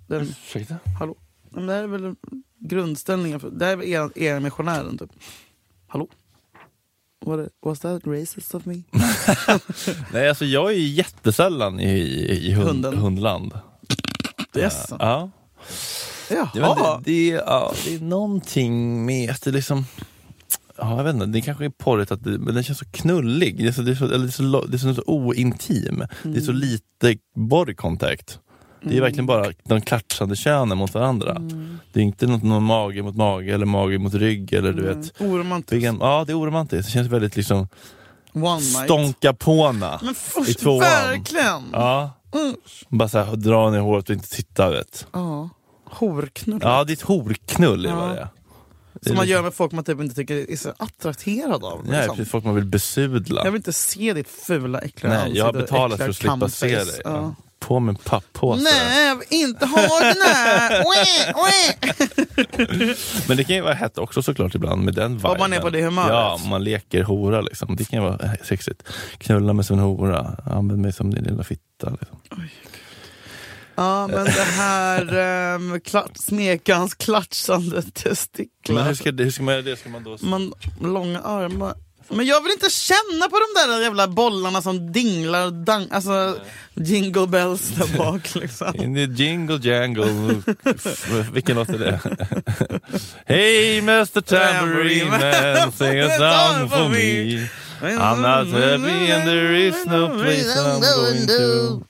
Speaker 2: Den,
Speaker 3: Ursäkta?
Speaker 2: hallå? Ja, Men det här är väl grundställningen? För, det här är väl er, er missionären typ? Hallå? What, was that racist of me?
Speaker 3: Nej, alltså jag är ju jättesällan i, i, i hund,
Speaker 2: Hunden.
Speaker 3: hundland.
Speaker 2: Yes.
Speaker 3: [LAUGHS] Ja. Jag vet
Speaker 2: Jaha.
Speaker 3: inte, det, är- ja, det är någonting med att det liksom... Ja, jag vet inte, det kanske är porrigt, att det, men den känns så knullig. Det är så, det är så, eller det är så, lo- det är så, så ointim. Det är
Speaker 2: Mm.
Speaker 3: så lite bodycontact. Det är verkligen bara de klatschande könen mot varandra.
Speaker 2: Mm.
Speaker 3: Det är inte något, någon mage mot mage eller mage mot rygg. Eller, du
Speaker 2: Mm.
Speaker 3: vet. Det är,
Speaker 2: Oromantiskt.
Speaker 3: gam- ja, det är oromantiskt. Det känns väldigt liksom
Speaker 2: One night.
Speaker 3: stonka påna.
Speaker 2: Men
Speaker 3: i
Speaker 2: först,
Speaker 3: tvåan.
Speaker 2: verkligen!
Speaker 3: Ja.
Speaker 2: Mm.
Speaker 3: Bara så här, dra ner håret och inte titta. Vet.
Speaker 2: Ja. Horknull.
Speaker 3: Ja, det är ett horknull. är
Speaker 2: Ja.
Speaker 3: vad det är. Det är
Speaker 2: Som man
Speaker 3: lite-
Speaker 2: gör med folk man typ inte tycker är så attraherad av.
Speaker 3: Nej,
Speaker 2: liksom.
Speaker 3: precis. Folk man vill besudla.
Speaker 2: Jag vill inte se ditt fula äckliga
Speaker 3: Nej, jag har
Speaker 2: ansikte,
Speaker 3: betalat för att
Speaker 2: äckliga
Speaker 3: slippa se
Speaker 2: cuntface.
Speaker 3: dig.
Speaker 2: Ja.
Speaker 3: På med en papppåse.
Speaker 2: Nej, jag vill inte ha den
Speaker 3: [LAUGHS]
Speaker 2: här! Oe, oe.
Speaker 3: Men det kan ju vara hett också såklart ibland med den viben.
Speaker 2: man är på det humöret.
Speaker 3: Ja, om man leker hora liksom. Det kan ju vara eh, sexigt. Knulla mig som en hora. Använd mig som din lilla fitta. Liksom.
Speaker 2: ja, men det här um, klat, smekans klatschande testiklar.
Speaker 3: Men hur ska, det- hur ska man göra det? Ska man då...
Speaker 2: Man, långa armar. Men jag vill inte känna på de där jävla bollarna som dinglar och dang, alltså jingle bells där bak liksom.
Speaker 3: In the jingle jangle. F- Vilken låt är det? [LAUGHS] hey Mr Tambourine
Speaker 2: [LAUGHS]
Speaker 3: Man, sing a song for me. [LAUGHS] I'm not happy and there is no place that I'm going to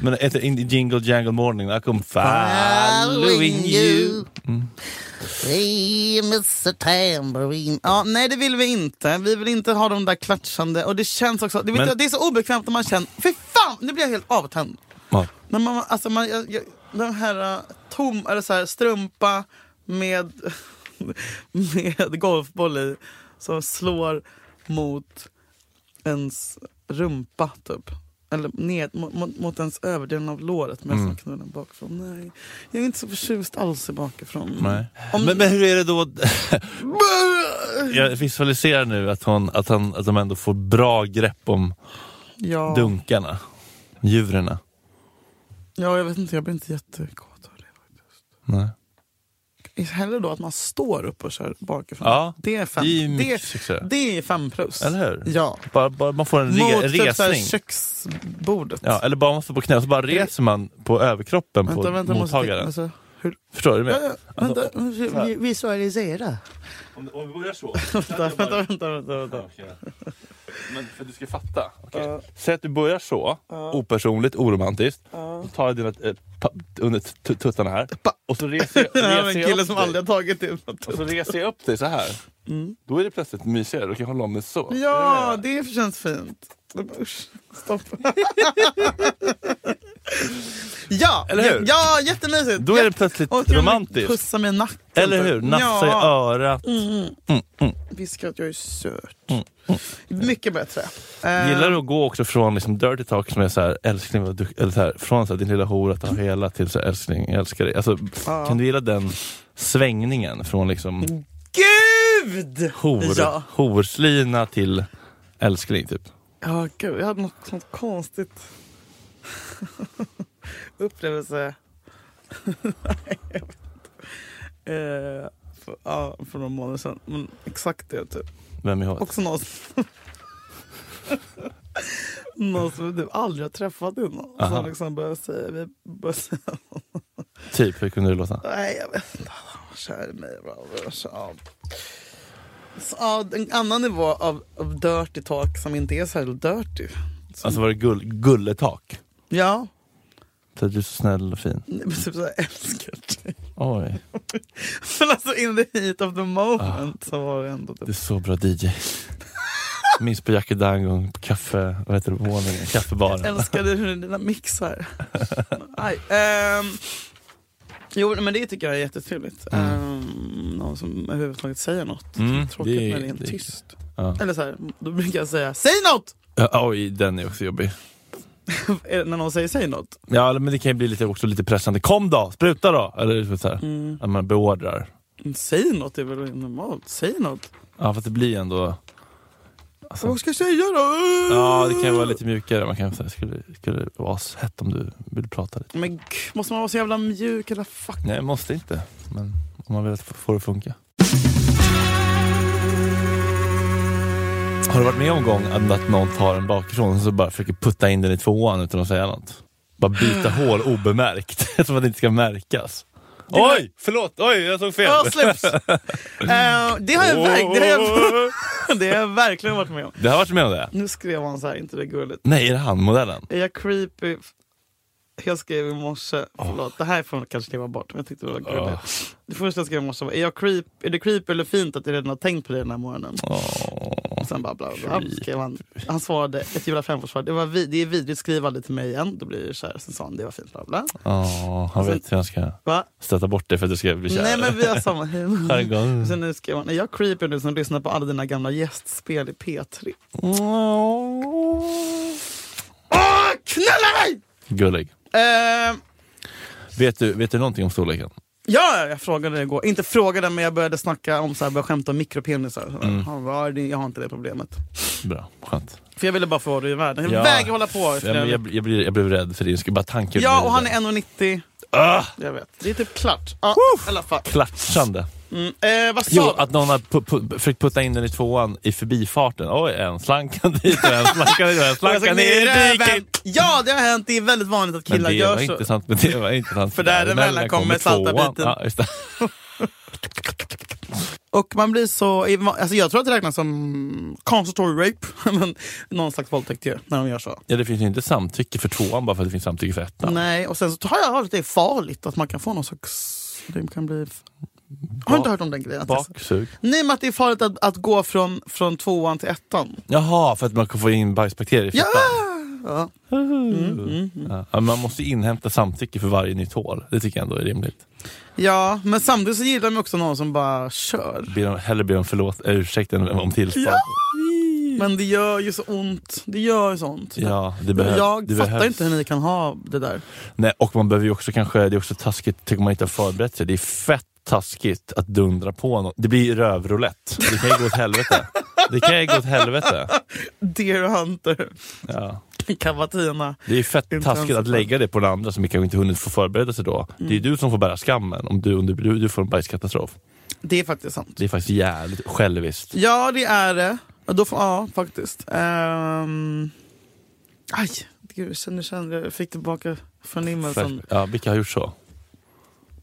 Speaker 3: Men efter in the jingle jangle morning I come following you
Speaker 2: Hey, Mr Tambourine. Ja, nej, det vill vi inte. Vi vill inte ha de där klatschande. Och det känns också... Det, vet
Speaker 3: Men-
Speaker 2: jag, det är så obekvämt när man känner... Fy fan, nu blir jag helt avtänd.
Speaker 3: Ja.
Speaker 2: När man, alltså, man, jag, jag, den här eh, tom, eller så här, strumpa med, [LAUGHS] med golfboll i som slår mot ens rumpa typ. Eller ned, mot- mot, mot ens överdelen av låret medan
Speaker 3: Mm.
Speaker 2: man knullar bakifrån. Nej, jag är inte så förtjust alls i bakifrån.
Speaker 3: Nej.
Speaker 2: Om-
Speaker 3: Men, men hur är det då? [LAUGHS] Jag visualiserar nu att, hon, att, han, att de ändå får bra grepp om
Speaker 2: Ja,
Speaker 3: dunkarna, djuren.
Speaker 2: ja, jag vet inte, jag blir inte jättekåt av det.
Speaker 3: Nej.
Speaker 2: Hellre då att man står upp och kör bakifrån.
Speaker 3: Ja,
Speaker 2: Det är fem,
Speaker 3: det är ju mycket
Speaker 2: det,
Speaker 3: sexigare.
Speaker 2: det är fem plus.
Speaker 3: Eller hur?
Speaker 2: Ja.
Speaker 3: Bara, bara man får en re,
Speaker 2: Mot typ så här
Speaker 3: resning.
Speaker 2: köksbordet.
Speaker 3: Ja, eller bara man står på knä och så bara reser man på överkroppen på
Speaker 2: jag
Speaker 3: mottagaren. Alltså,
Speaker 2: Måste, alltså, hur,
Speaker 3: Förstår du? vad jag
Speaker 2: ja,
Speaker 3: menar?
Speaker 2: ja, vänta, vi- vi- visualisera.
Speaker 3: Om, om vi
Speaker 2: [LAUGHS]
Speaker 3: börjar så.
Speaker 2: Vänta, vänta, vänta. vänta, vänta.
Speaker 3: Men för att du ska fatta. Säg att du börjar så, opersonligt, oromantiskt. Då tar jag dina eh, pa- under t- tuttarna här. Och så reser
Speaker 2: [LAUGHS]
Speaker 3: jag,
Speaker 2: Det här var
Speaker 3: reser
Speaker 2: en
Speaker 3: jag
Speaker 2: kille
Speaker 3: upp
Speaker 2: som
Speaker 3: dig. Alltså,
Speaker 2: aldrig har tagit det.
Speaker 3: Och så reser jag upp dig så här. Då är det plötsligt mysigare. Då kan jag hålla om dig så.
Speaker 2: Ja, det känns fint. Usch,
Speaker 3: [LAUGHS]
Speaker 2: stopp. ja,
Speaker 3: Eller hur?
Speaker 2: ja, jättemysigt.
Speaker 3: Då är det
Speaker 2: Jätte-
Speaker 3: plötsligt
Speaker 2: Och kan du
Speaker 3: romantiskt.
Speaker 2: Pussa mig i nacken.
Speaker 3: Eller hur? Nafsa i
Speaker 2: ja, Mm.
Speaker 3: örat.
Speaker 2: Viska att jag är söt. Mycket bättre.
Speaker 3: Mm, Gillar du att gå också från liksom dirty talk som är så här, älskling, vad du, eller så här, från så här, din lilla hora, ta hela till så här, älskling, jag älskar dig. Alltså, Kan du gilla den svängningen från liksom
Speaker 2: Eh, Gud!
Speaker 3: hor,
Speaker 2: Ja.
Speaker 3: horslina till älskling typ.
Speaker 2: Ja, gud, jag hade något sånt konstigt [LAUGHS] upplevelse. [LAUGHS] Nej, jag vet inte. Eh, för, ja, för några månader sedan. Men exakt det typ.
Speaker 3: Vem i havet?
Speaker 2: Också någon som... [LAUGHS] någon som du aldrig har träffat innan.
Speaker 3: Aha.
Speaker 2: Som liksom börjar säga, vi börjar säga
Speaker 3: Typ, hur kunde det låta?
Speaker 2: Nej, jag vet inte. Han var Kär i mig. bla, bla, så, ja. Så, ja, en annan nivå av, av dirty talk som inte är särskilt dirty.
Speaker 3: Alltså var det gull, gulletak?
Speaker 2: Ja,
Speaker 3: Så att du är så snäll och fin.
Speaker 2: nej, men typ så här, älskar dig.
Speaker 3: Oj,
Speaker 2: Men alltså in the heat of the moment så var det ändå
Speaker 3: du
Speaker 2: typ.
Speaker 3: är så bra DJ. Minns på Jackie Dangon på kaffe, vad heter det, våningen, kaffebaren.
Speaker 2: Älskade hur dina mixar. Aj, ehm, jo men det tycker jag är jättetrevligt.
Speaker 3: Mm.
Speaker 2: Ehm, någon som överhuvudtaget säger något.
Speaker 3: Mm,
Speaker 2: Tråkigt
Speaker 3: det är-
Speaker 2: när det är en
Speaker 3: det är-
Speaker 2: tyst.
Speaker 3: Ja.
Speaker 2: Eller så här, då brukar jag säga säg något!
Speaker 3: Ja, Oj, den är också jobbig.
Speaker 2: Eller när någon säger säg något.
Speaker 3: Ja, men det kan ju bli lite, också lite pressande. Kom då, spruta då! Eller så här,
Speaker 2: Mm.
Speaker 3: att man beordrar.
Speaker 2: Säg något det är väl normalt? Säg något.
Speaker 3: Ja, fast det blir ändå... Alltså,
Speaker 2: Vad ska jag säga då?
Speaker 3: ja, det kan ju vara lite mjukare. Man kan säga, skulle, skulle det vara hett om du vill prata lite?
Speaker 2: Men gud, måste man vara så jävla mjuk eller fuck?
Speaker 3: Nej, måste inte. Men om man vill att få det att funka. Har du varit med om gång att någon tar en bakifrån och så bara försöker putta in den i tvåan utan att säga något? Bara [GASPS] byta hål obemärkt, [LAUGHS] som att det inte ska märkas.
Speaker 2: var-
Speaker 3: Oj, förlåt, oj, jag såg fel.
Speaker 2: Ja, [LAUGHS] släpps! Eh, det, har jag verk- det, har jag, det har jag [LAUGHS] verkligen varit med om.
Speaker 3: [LAUGHS] Det har varit med om det?
Speaker 2: Nu skrev han så här, inte det är gulligt.
Speaker 3: Nej, är det han, modellen?
Speaker 2: Är jag creepy? Jag skrev i morse, förlåt, det här får man kanske leva bort, men jag tyckte det var gulligt.
Speaker 3: Åh.
Speaker 2: Det första jag skrev i morse var, är, jag creep, är det creepy eller fint att jag redan har tänkt på det den här morgonen?
Speaker 3: Åh.
Speaker 2: Och sen bara bla bla, bla skrev han. Han svarade ett jävla femforsvar. Det, var vi, det är vidrigt, skriv aldrig till mig igen. Då blir det så här. Sen sa han det var fint bla bla.
Speaker 3: Ja, han vet hur han ska
Speaker 2: Va?
Speaker 3: stöta bort det för att du ska bli kär.
Speaker 2: Alltså- Nej men vi har samma [LAUGHS] humor.
Speaker 3: Jargong.
Speaker 2: Sen nu skrev han, är jag creepy nu som lyssnar på alla dina gamla gästspel i P3? Åh, knulla dig!
Speaker 3: Gullig.
Speaker 2: Eh,
Speaker 3: Vet du, vet du någonting om storleken?
Speaker 2: ja, jag frågade det igår. Inte frågade men jag började snacka om så här, började skämta om mikropenisar. Så här,
Speaker 3: Mm.
Speaker 2: Han bara, "Ja, jag har inte det problemet.
Speaker 3: Bra, skönt.
Speaker 2: För jag ville bara få det i världen. Jag
Speaker 3: Ja.
Speaker 2: vägrar hålla på.
Speaker 3: Ja, men jag, blir- jag, blir, jag blev rädd för din skull. Bara tanken.
Speaker 2: ja, och han är 1,90.
Speaker 3: Ah,
Speaker 2: Jag vet. Det är typ klart. Ja, i alla fall.
Speaker 3: klatschande.
Speaker 2: Eh, vad sa
Speaker 3: Jo,
Speaker 2: du?
Speaker 3: att någon har pu- pu- försökt putta in den i tvåan i förbifarten. Oj, en slankan dit och en slankan dit och
Speaker 2: [LAUGHS]
Speaker 3: en slankan ner i
Speaker 2: röven.
Speaker 3: diket.
Speaker 2: Ja, det har hänt. Det är väldigt vanligt att
Speaker 3: Men
Speaker 2: killar
Speaker 3: det var
Speaker 2: gör så.
Speaker 3: inte sant. Men det var inte sant.
Speaker 2: För däremellan kommer salta
Speaker 3: tvåan.
Speaker 2: biten.
Speaker 3: Ja, just det.
Speaker 2: Och man blir så... Alltså jag tror att det räknas som constatory rape. [LAUGHS] Men någon slags våldtäkt ju, när de gör så.
Speaker 3: Ja, det finns ju inte samtycke för tvåan bara för att det finns samtycke för ettan.
Speaker 2: Nej, och sen så har jag hört att det är farligt att man kan få någon slags... Det kan bli... Har du inte hört om den grejen? Att det är så-
Speaker 3: Baksug.
Speaker 2: Nej, men att det är farligt att, att gå från, från tvåan till ettan.
Speaker 3: Jaha, för att man kan få in bajsbakterier i
Speaker 2: Ja!
Speaker 3: fettan.
Speaker 2: ja.
Speaker 3: Ja. Ja, man måste inhämta samtycke för varje nytt hål. Det tycker jag ändå är rimligt.
Speaker 2: Ja, men samtidigt så gillar man också någon som bara kör.
Speaker 3: Be dem, hellre be om förlåt, äh, ursäkt än om tillstånd.
Speaker 2: Ja. Men det gör ju så ont. Det gör ju så ont.
Speaker 3: Ja, det behövs.
Speaker 2: jag
Speaker 3: det
Speaker 2: fattar
Speaker 3: behövs.
Speaker 2: inte hur ni kan ha det där.
Speaker 3: Nej, och man behöver ju också kanske, det är också taskigt, tycker man inte har förberett sig. Det är fett taskigt att dundra på någon. Det blir ju rövrulett. Det kan ju gå åt helvete. Det kan ju gå åt helvete.
Speaker 2: Dear Hunter, [LAUGHS]
Speaker 3: Ja.
Speaker 2: Cavatina.
Speaker 3: Det är fett
Speaker 2: Inte
Speaker 3: taskigt
Speaker 2: ens-
Speaker 3: att lägga det på den andra som kanske inte hunnit få förbereda sig då. Det är ju du som får bära skammen om du, om du, du får en bajskatastrof.
Speaker 2: Det är faktiskt sant.
Speaker 3: Det är faktiskt jävligt själviskt.
Speaker 2: Ja, det är det. Ja, Då får, ja, faktiskt. Ehm, aj, gud, jag känner, känner, jag fick tillbaka förnimmelsen.
Speaker 3: Ja, vilka har gjort så?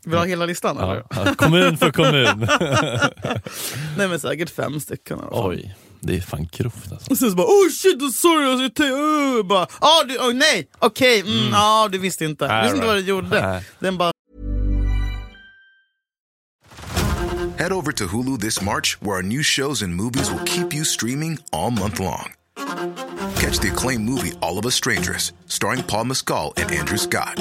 Speaker 2: Vill du ha hela listan?
Speaker 3: Ja.
Speaker 2: Eller?
Speaker 3: Ja, kommun
Speaker 2: [LAUGHS]
Speaker 3: för kommun.
Speaker 2: Nej, men säkert fem stycken. i alla fall.
Speaker 3: Oj, det är fan grovt alltså.
Speaker 2: Och sen så bara oh shit, oh, sorry, alltså, jag tänkte, uh, bara, ah, du, oh, nej, okej, mm, ah, du visste inte. Du
Speaker 3: Nej,
Speaker 2: visste inte vad du
Speaker 3: right.
Speaker 2: gjorde.
Speaker 3: Nej.
Speaker 2: Den bara
Speaker 7: Head over to Hulu this March, where our new shows and movies will keep you streaming all month long. Catch the acclaimed movie All of Us Strangers, starring Paul Mescal and Andrew Scott.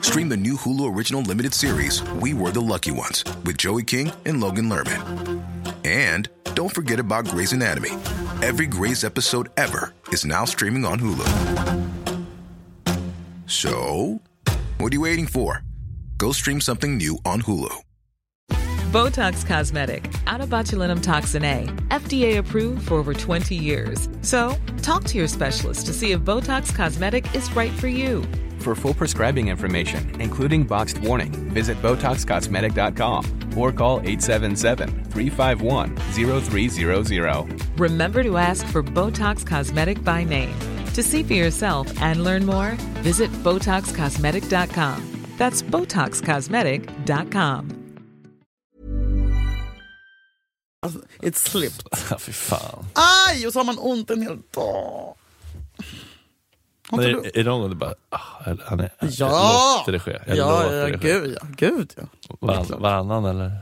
Speaker 7: Stream the new Hulu original limited series We Were the Lucky Ones with Joey King and Logan Lerman. And don't forget about Grey's Anatomy. Every Grey's episode ever is now streaming on Hulu. So, what are you waiting for? Go stream something new on Hulu.
Speaker 5: Botox Cosmetic, out of botulinum toxin A, FDA approved for over 20 years. So, talk to your specialist to see if Botox Cosmetic is right for you.
Speaker 6: For full prescribing information, including boxed warning, visit BotoxCosmetic.com or call 877-351-0300.
Speaker 5: Remember to ask for Botox Cosmetic by name. To see for yourself and learn more, visit BotoxCosmetic.com. That's BotoxCosmetic.com.
Speaker 2: Alltså, it slipped.
Speaker 3: Ja, fy fan.
Speaker 2: Aj! Och så har man ont en hel dag. Har
Speaker 3: Men
Speaker 2: inte
Speaker 3: är,
Speaker 2: du?
Speaker 3: är det någon gång du bara, ah, han är, han är,
Speaker 2: Ja!
Speaker 3: låter det ske? Jag lovar
Speaker 2: Ja,
Speaker 3: att
Speaker 2: ja,
Speaker 3: det sker.
Speaker 2: gud ja. Gud ja.
Speaker 3: Varann, varannan eller?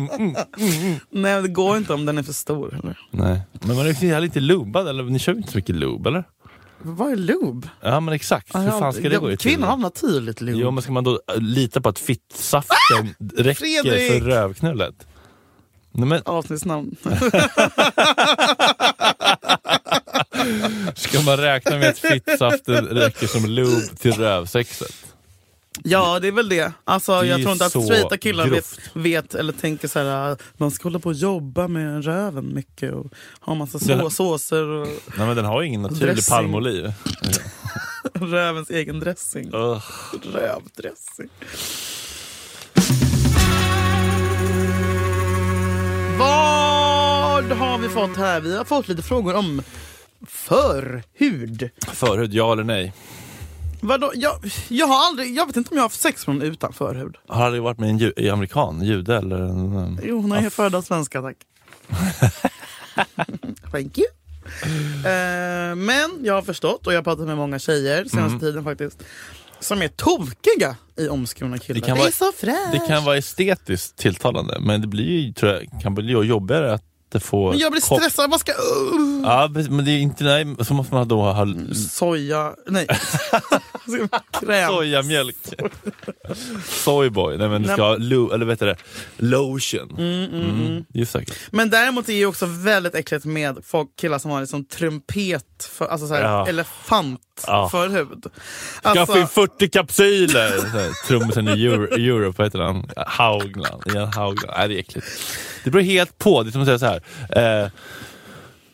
Speaker 2: Nej, men det går inte om den är för stor. Eller?
Speaker 3: Nej. Men man är ju lite lubad, eller? Ni kör ju inte så mycket lub, eller?
Speaker 2: Vad är lube?
Speaker 3: Ja men exakt, hur fan ska det gå till?
Speaker 2: Kvinnor har naturligt lube.
Speaker 3: Jo men ska man då äh, lita på att fittsaften räcker
Speaker 2: Fredrik!
Speaker 3: för rövknullet? Nej, men
Speaker 2: Avsnittsnamn.
Speaker 3: ska man räkna [LAUGHS] med att fittsaften räcker som lub till rövsexet?
Speaker 2: Ja, det är väl det. Alltså,
Speaker 3: Det är
Speaker 2: jag
Speaker 3: ju
Speaker 2: tror inte att
Speaker 3: så
Speaker 2: straighta killar vet,
Speaker 3: grovt.
Speaker 2: vet eller tänker så här, "Ah, man ska hålla på och jobba med röven mycket och ha massa så-
Speaker 3: Det här-
Speaker 2: såser och [LAUGHS]
Speaker 3: Nej men den har ju ingen naturlig
Speaker 2: Dressing.
Speaker 3: palmoliv.
Speaker 2: rövens egen dressing.
Speaker 3: Ugh.
Speaker 2: Rövdressing. Vad har vi fått här? Vi har fått lite frågor om förhud.
Speaker 3: Förhud, ja eller nej?
Speaker 2: Vadå? Jag, jag, har aldrig, jag vet inte om jag har haft sex med någon utan förhud.
Speaker 3: Har aldrig varit med en ju- en amerikan, jude eller en... en-
Speaker 2: Jo, hon är ju född av svenska, tack. [LAUGHS] Thank you. Eh, men jag har förstått, och jag har pratat med många tjejer senaste
Speaker 3: Mm.
Speaker 2: tiden faktiskt, som är tokiga i omskurna killar. Det,
Speaker 3: Det kan
Speaker 2: är
Speaker 3: vara-
Speaker 2: så fräscht!
Speaker 3: Det kan vara estetiskt tilltalande men det blir ju, tror jag, kan bli jobbigare att det får...
Speaker 2: Men jag blir
Speaker 3: kom-
Speaker 2: stressad,
Speaker 3: [LAUGHS]
Speaker 2: vad ska... Uh,
Speaker 3: Ja, precis, men det är inte... Nej, så måste man då ha
Speaker 2: soja...
Speaker 3: [LAUGHS]
Speaker 2: Nej. Kräm.
Speaker 3: Sojamjölk. Soyboy. Nej men du ska ha lo- eller vet du det, lotion. Mm, det är säkert.
Speaker 2: Men däremot är det ju också väldigt äckligt med folk, killar som har liksom trumpet, för, alltså såhär,
Speaker 3: Ja.
Speaker 2: elefant
Speaker 3: Ja.
Speaker 2: förhud.
Speaker 3: Skaffa in
Speaker 2: Alltså,
Speaker 3: 40 kapsyler! Så här, Trummisen i Euro, Europe, vad heter han? Haugland. Ian Haugland. Nej, det är äckligt. Det beror helt på. Det är som att säga så här. Eh,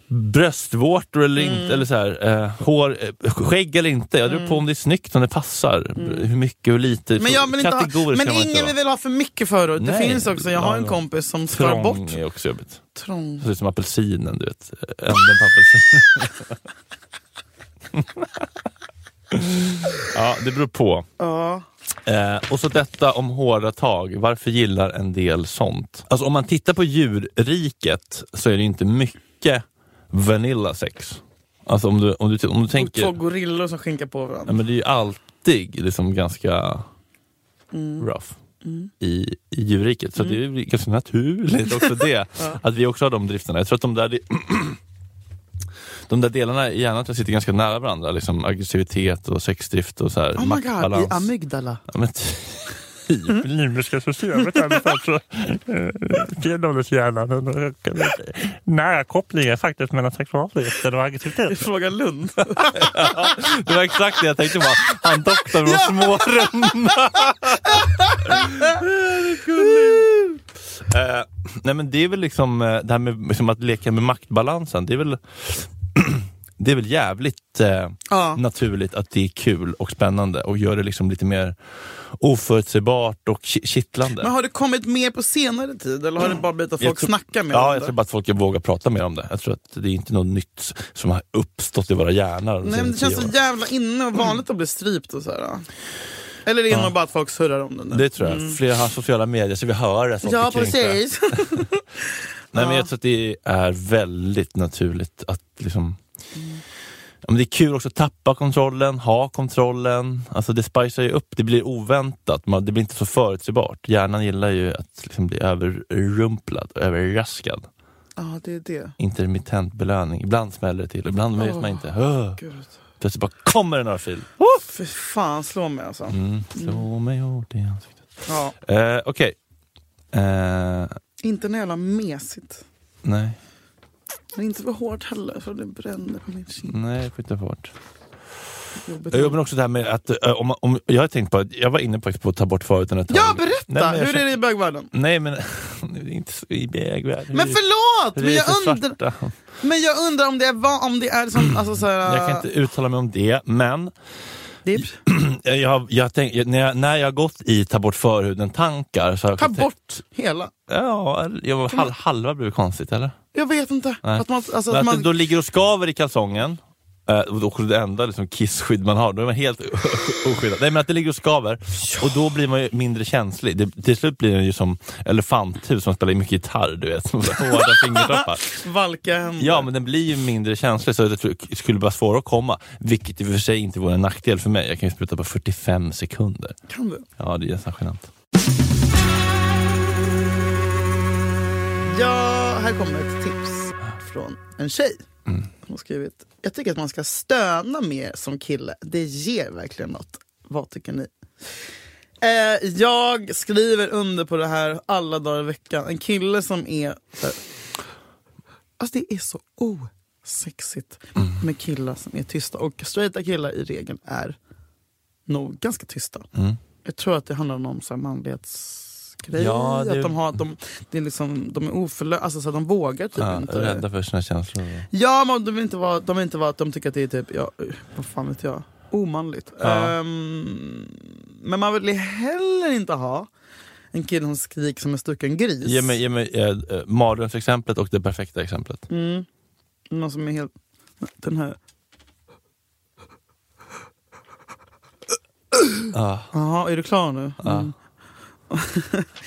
Speaker 3: bröstvårtor eller
Speaker 2: Mm.
Speaker 3: inte, eller så här, eh, hår, eh, skägg eller inte. Jag beror på om det är snyggt, om det passar. Hur mycket och lite.
Speaker 2: Mm. men jag vill inte ha,
Speaker 3: Kategorisk
Speaker 2: men
Speaker 3: kan man inte
Speaker 2: ingen
Speaker 3: vara.
Speaker 2: vill ha för mycket förhud. Det
Speaker 3: Nej.
Speaker 2: finns också, jag har
Speaker 3: Ja,
Speaker 2: en
Speaker 3: ja.
Speaker 2: kompis som skar
Speaker 3: Trång
Speaker 2: bort
Speaker 3: är också jobbigt.
Speaker 2: trång.
Speaker 3: Det ser ut som apelsinen, du vet. Änden på apelsinen. [LAUGHS] ja, det beror på.
Speaker 2: Ja.
Speaker 3: Eh, och så detta om hårda tag. Varför gillar en del sånt? Alltså om man tittar på djurriket så är det inte mycket vanilla sex. Alltså om du, om du, om du
Speaker 2: Och två
Speaker 3: tänker...
Speaker 2: gorillor som skinkar på varandra.
Speaker 3: Ja, men det är ju alltid liksom ganska
Speaker 2: Mm.
Speaker 3: rough i, i djurriket. Så det är ju ganska naturligt
Speaker 2: [LAUGHS]
Speaker 3: också det, att vi också har de drifterna. Jag tror att de [CLEARS THROAT] där, de där delarna i hjärnan tror jag sitter ganska nära varandra. Liksom aggressivitet och sexdrift och så här,
Speaker 2: Oh my god, i
Speaker 3: maktbalans.
Speaker 2: amygdala.
Speaker 3: Ja,
Speaker 8: [LAUGHS]
Speaker 3: men typ. Limbiska systemet i alla fall.
Speaker 8: alltså,
Speaker 3: Så,
Speaker 8: eh, Stenåldershjärnan. Nära kopplingar faktiskt mellan sexualiteten och aggressiviteten.
Speaker 2: Fråga
Speaker 3: [LAUGHS]
Speaker 2: Lund.
Speaker 3: Det var exakt det jag tänkte på. Han doktorn med de små runda. Eh, nej men det är väl liksom eh, det här med liksom att leka med maktbalansen. Det är väl, [CLEARS THROAT] det är väl jävligt eh,
Speaker 2: Ja.
Speaker 3: naturligt att det är kul och spännande och gör det liksom lite mer oförutsägbart och ki- kittlande.
Speaker 2: Men har det kommit mer på senare tid eller har det bara blivit att
Speaker 3: Jag
Speaker 2: folk
Speaker 3: tror-
Speaker 2: snackar med
Speaker 3: Ja,
Speaker 2: varandra?
Speaker 3: jag tror bara att folk vågar prata mer om det. Jag tror att det är inte något nytt som har uppstått i våra hjärnor. de
Speaker 2: Nej, men det
Speaker 3: senaste
Speaker 2: känns
Speaker 3: tio
Speaker 2: så
Speaker 3: åren.
Speaker 2: jävla inne och vanligt att bli strypt och så här. ja. Eller är det nog bara att folk surrar om det nu?
Speaker 3: Det tror jag. Flera har sociala medier så vi hör det. så
Speaker 2: Mm. ja,
Speaker 3: att vi kring det.
Speaker 2: precis. [LAUGHS]
Speaker 3: Nej, men
Speaker 2: Ja.
Speaker 3: jag tror att det är väldigt naturligt att liksom Ja, men det är kul också att tappa kontrollen, ha kontrollen. Alltså det spicar ju upp, det blir oväntat, man, det blir inte så förutsägbart. Hjärnan gillar ju att liksom bli överrumplad och överraskad.
Speaker 2: ja, det är det.
Speaker 3: Intermittent belöning. Ibland smäller det till, ibland vet man inte. Öh.
Speaker 2: Gud.
Speaker 3: Plötsligt bara kommer det några fil.
Speaker 2: Fy fan, slå mig alltså.
Speaker 3: Mm. Slå mig hårt i ansiktet.
Speaker 2: Ja.
Speaker 3: Eh, Okej. Eh,
Speaker 2: Inte när jävla mesigt.
Speaker 3: nej, Mm.
Speaker 2: Men inte för hårt heller för det bränner på min kind.
Speaker 3: nej, skjuta bort.
Speaker 2: Jobbigt.
Speaker 3: Ja, men också det här med att, eh, om, man- om, jag har tänkt på, att- jag var inne faktiskt på att ta bort förhuden ett tag.
Speaker 2: Ja, berätta!
Speaker 3: Nej, men jag
Speaker 2: Hur är
Speaker 3: känner-
Speaker 2: det i bögvärlden?
Speaker 3: Nej men, [LAUGHS] det är inte så i vägvärlden.
Speaker 2: Men förlåt!
Speaker 3: Det är
Speaker 2: Men jag,
Speaker 3: så
Speaker 2: undrar,
Speaker 3: svarta.
Speaker 2: men jag undrar om det är, va- om det är som... Alltså, så här,
Speaker 3: Mm.
Speaker 2: eh,
Speaker 3: Jag kan inte uttala mig om det, men
Speaker 2: det-
Speaker 3: jag, har- jag tänk, jag- när, jag, när jag har gått i ta bort förhuden-tankar så har jag
Speaker 2: Ta
Speaker 3: också
Speaker 2: bort hela.
Speaker 3: Tänkt, ja, eller- jag, hal, halva blir konstigt eller?
Speaker 2: Jag vet inte.
Speaker 3: Nej.
Speaker 2: Att man, alltså,
Speaker 3: Men
Speaker 2: att
Speaker 3: att
Speaker 2: man,
Speaker 3: du då ligger och skaver i kalsongen, eh, och då är det enda liksom, kissskydd man har, då är man helt oskyddad. Nej men att det ligger och skaver, och då blir man ju mindre känslig. Det, till slut blir den ju som elefanthus som spelar mycket gitarr, du vet. Som så här Hårda
Speaker 2: [LAUGHS]
Speaker 3: fingertoppar.
Speaker 2: valka händer.
Speaker 3: Ja men den blir ju mindre känslig, så jag tror det skulle vara svårare att komma. Vilket i och för sig inte vore en nackdel för mig. Jag kan ju spruta på 45 sekunder.
Speaker 2: Kan du?
Speaker 3: Ja det är nästan genant.
Speaker 2: Ja, här kommer ett tips från en tjej. Hon har skrivit, jag tycker att man ska stöna mer som kille. Det ger verkligen något. Vad tycker ni? Eh, jag skriver under på det här alla dagar i veckan. En kille som är... Eh, alltså det är så osexigt med killar som är tysta. Och straighta killar i regel är nog ganska tysta.
Speaker 3: Mm.
Speaker 2: Jag tror att det handlar om någon så här manlighetsgrej.
Speaker 3: Ja, det-
Speaker 2: Att de, har, att de, det är liksom, de är oförlö... Alltså så här, de vågar typ
Speaker 3: Ja,
Speaker 2: inte.
Speaker 3: rädda för sina känslor.
Speaker 2: Ja, men de vill inte vara, de vill inte vara att de tycker att det är typ, ja, vad fan vet jag, omanligt.
Speaker 3: Ja.
Speaker 2: Ehm, men man vill heller inte ha en kille som skriker som en stucken gris.
Speaker 3: Ge mig, ge mig eh, eh, mardrömsexemplet och det perfekta exemplet.
Speaker 2: Mm. Någon som är helt, den här,
Speaker 3: Ah.
Speaker 2: jaha, är du klar nu? Mm.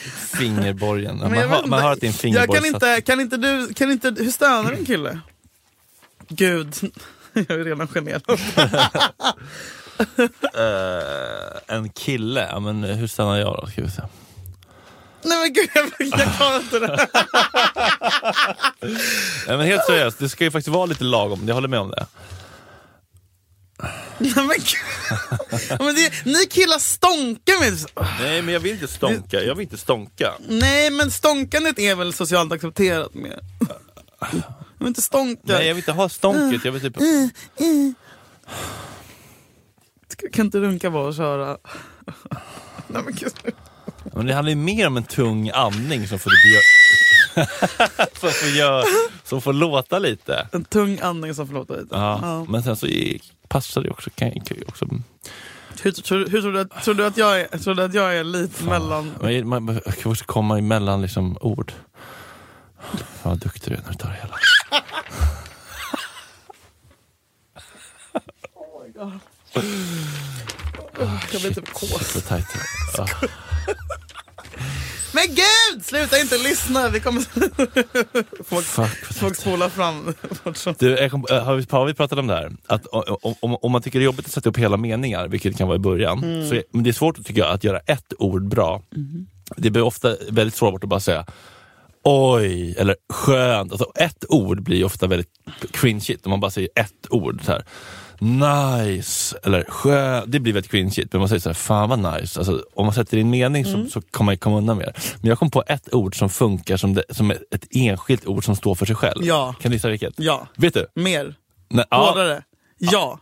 Speaker 3: [LAUGHS] Fingerborgen.
Speaker 2: Men
Speaker 3: Ja, man,
Speaker 2: jag vet
Speaker 3: hör,
Speaker 2: inte.
Speaker 3: man hör att det är en
Speaker 2: Jag
Speaker 3: fingerborg.
Speaker 2: kan inte, kan inte du, kan inte, hur stönar en kille? Gud, [LAUGHS] jag är redan generad.
Speaker 3: Eh, en kille, ja, men eh, hur stannar jag då? Ska vi se.
Speaker 2: Nej men gud, jag, jag
Speaker 3: [LAUGHS]
Speaker 2: klarar inte det.
Speaker 3: Nej, men helt seriöst, det ska ju faktiskt vara lite lagom, jag håller med om det.
Speaker 2: Nej, men, gud. Ja, men det, ni killar stånkar med
Speaker 3: Nej men jag vill inte stonka, jag vill inte stonka.
Speaker 2: Nej, men stånkandet är väl socialt accepterat mer? Jag vill inte stånka.
Speaker 3: Nej jag vill inte ha stånket, jag vill typ...
Speaker 2: Ska- Kan inte runka bara och köra? Nej, men gud.
Speaker 3: Men det handlar ju mer om en tung andning som får, [LAUGHS] det som får, gör, som får låta lite.
Speaker 2: En tung andning som förlåter dig.
Speaker 3: Ja.
Speaker 2: Ja.
Speaker 3: Men sen så i- passar det också, kan, kan ju också...
Speaker 2: Hur, tror, hur tror, du att, tror du att jag är, tror du att jag är lite mellan...
Speaker 3: Man, man, man kan också komma emellan liksom ord. Fan vad duktig du är när du tar det hela.
Speaker 2: Jag blir typ kåt.
Speaker 3: Så tajt. Ja.
Speaker 2: Men gud! Sluta inte lyssna! Vi kommer
Speaker 3: Fuck, vad
Speaker 2: folk spola fram.
Speaker 3: [LAUGHS] Du, jag kom, eh, har, vi, har vi pratat om det här? Att o- o- om, om man tycker det är jobbigt att sätta upp hela meningar, vilket kan vara i början, så är, men det är svårt tycker jag att göra ett ord bra. Det blir ofta väldigt svårt att bara säga Oj, eller skönt. Alltså, ett ord blir ofta väldigt cringeigt om man bara säger ett ord. Så här. Nice, eller skönt. Det blir väldigt cringeigt, men man säger så här, fan vad nice. Alltså, om man sätter in mening så, så kan man ju komma undan mer. Men jag kom på ett ord som funkar som, det, som ett ett enskilt ord som står för sig själv.
Speaker 2: Ja.
Speaker 3: Kan du gissa vilket?
Speaker 2: Ja,
Speaker 3: Vet du?
Speaker 2: mer.
Speaker 3: Nej,
Speaker 2: Hårdare. Ja.